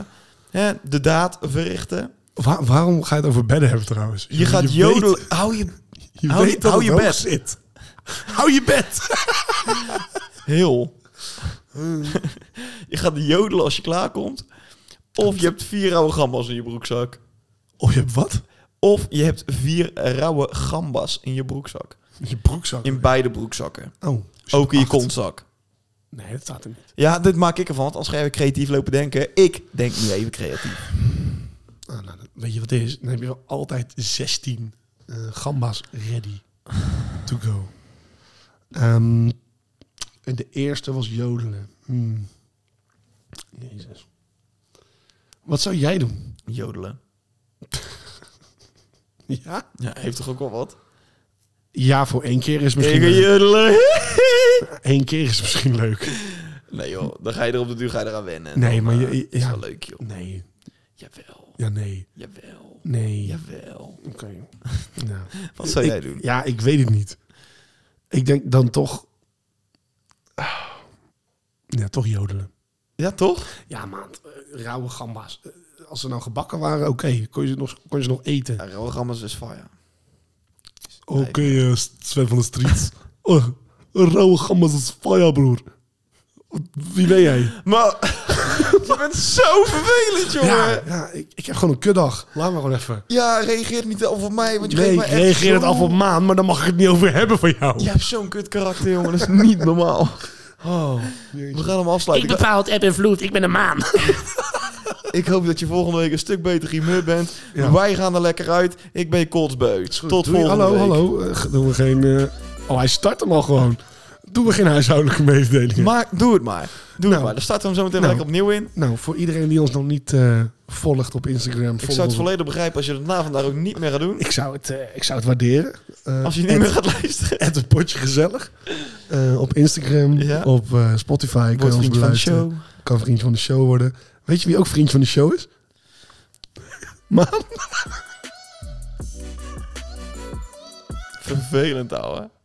S2: hè, de daad verrichten.
S1: Wa- waarom ga je het over bedden hebben trouwens?
S2: Je gaat
S1: weet-
S2: jodelen. Hou je...
S1: je
S2: hou je-
S1: weet dat
S2: hou
S1: het
S2: je
S1: hoog
S2: bed.
S1: Zit. Hou je bed.
S2: Heel.
S1: Hmm.
S2: je gaat jodelen als je klaarkomt. Of je hebt vier rauwe gambas in je broekzak.
S1: Of Oh, je hebt wat?
S2: Of je hebt vier rauwe gambas in je broekzak.
S1: Je broekzak.
S2: In beide broekzakken.
S1: Oh.
S2: Ook in je
S1: acht.
S2: kontzak.
S1: Nee, dat staat er niet.
S2: Ja, dit maak ik ervan, want anders ga je weer creatief lopen denken. Ik denk nu even creatief.
S1: Ah, nou, dan- weet je wat het is? Dan heb je wel altijd 16 eh, gamba's ready to go. Ehm, en de eerste was jodelen. Hmm. Jezus. Wat zou jij doen?
S2: Jodelen.
S1: Ja?
S2: Ja, heeft toch ook wel wat?
S1: Ja, voor één keer is misschien
S2: Ik wil
S1: leuk.
S2: jodelen.
S1: Eén keer is misschien leuk.
S2: Nee joh, dan ga je er op de duur ga je eraan wennen.
S1: Nee,
S2: Dan,
S1: maar je-
S2: eh,
S1: je-
S2: is
S1: ja.
S2: wel leuk joh.
S1: Nee.
S2: Jawel,
S1: Ja, nee.
S2: jawel,
S1: Nee.
S2: jawel.
S1: Oké. Nou.
S2: Wat zou
S1: Ik-
S2: jij doen?
S1: Ja, ik weet het niet. Ik denk dan toch... Ja, toch jodelen.
S2: Ja toch?
S1: Ja, maand. eh, Rauwe gamba's. Eh, Als ze nou gebakken waren, oké. Kon, je ze nog- kon je ze nog eten.
S2: Ja, rauwe gambas is dus fire.
S1: Oké, eh, Sven van de Street. oh, rauwe gamba's is fire, broer. Wie ben jij?
S2: Maar je bent zo vervelend jongen.
S1: Ja,
S2: Ja,
S1: ja ik, ik heb gewoon een kutdag. Laat me gewoon even.
S2: reageer niet af op mij, want je
S1: Nee,
S2: geeft
S1: ik
S2: mij echt
S1: reageer het
S2: zo'n-
S1: af op maan, maar dan mag ik het niet over hebben van jou.
S2: Je hebt zo'n kut karakter jongen, dat is niet normaal.
S1: Oh,
S2: We gaan hem afsluiten. Ik,
S4: bepaal het eb en vloed, ik ben een maan.
S2: ik hoop dat je volgende week een stuk beter humeur bent.
S1: Ja.
S2: Wij gaan er lekker uit. Ik ben je kotsbeu.
S1: Doei,
S2: Tot volgende
S1: hallo,
S2: week.
S1: Hallo, hallo. Eh, doen we geen... eh, Oh, hij start hem al gewoon. Doen we geen huishoudelijke mededelingen.
S2: Maar doe het maar. Doe
S1: Nou.
S2: het maar. Daar starten we hem zo meteen
S1: Nou.
S2: lekker opnieuw in.
S1: nou, voor iedereen die ons nog niet eh, volgt op Instagram.
S2: Ik zou het volledig begrijpen als je het na vandaag ook niet meer gaat doen.
S1: ik zou het, eh, ik zou het waarderen. Eh,
S2: Als je
S1: at-
S2: niet meer gaat luisteren.
S1: at het potje gezellig. Eh, op Instagram,
S2: Ja.
S1: op eh, Spotify. Kan je ons beluisteren. Kan vriendje van de show worden. Weet je wie ook vriendje van de show is? Maan.
S2: Vervelend, ouwe.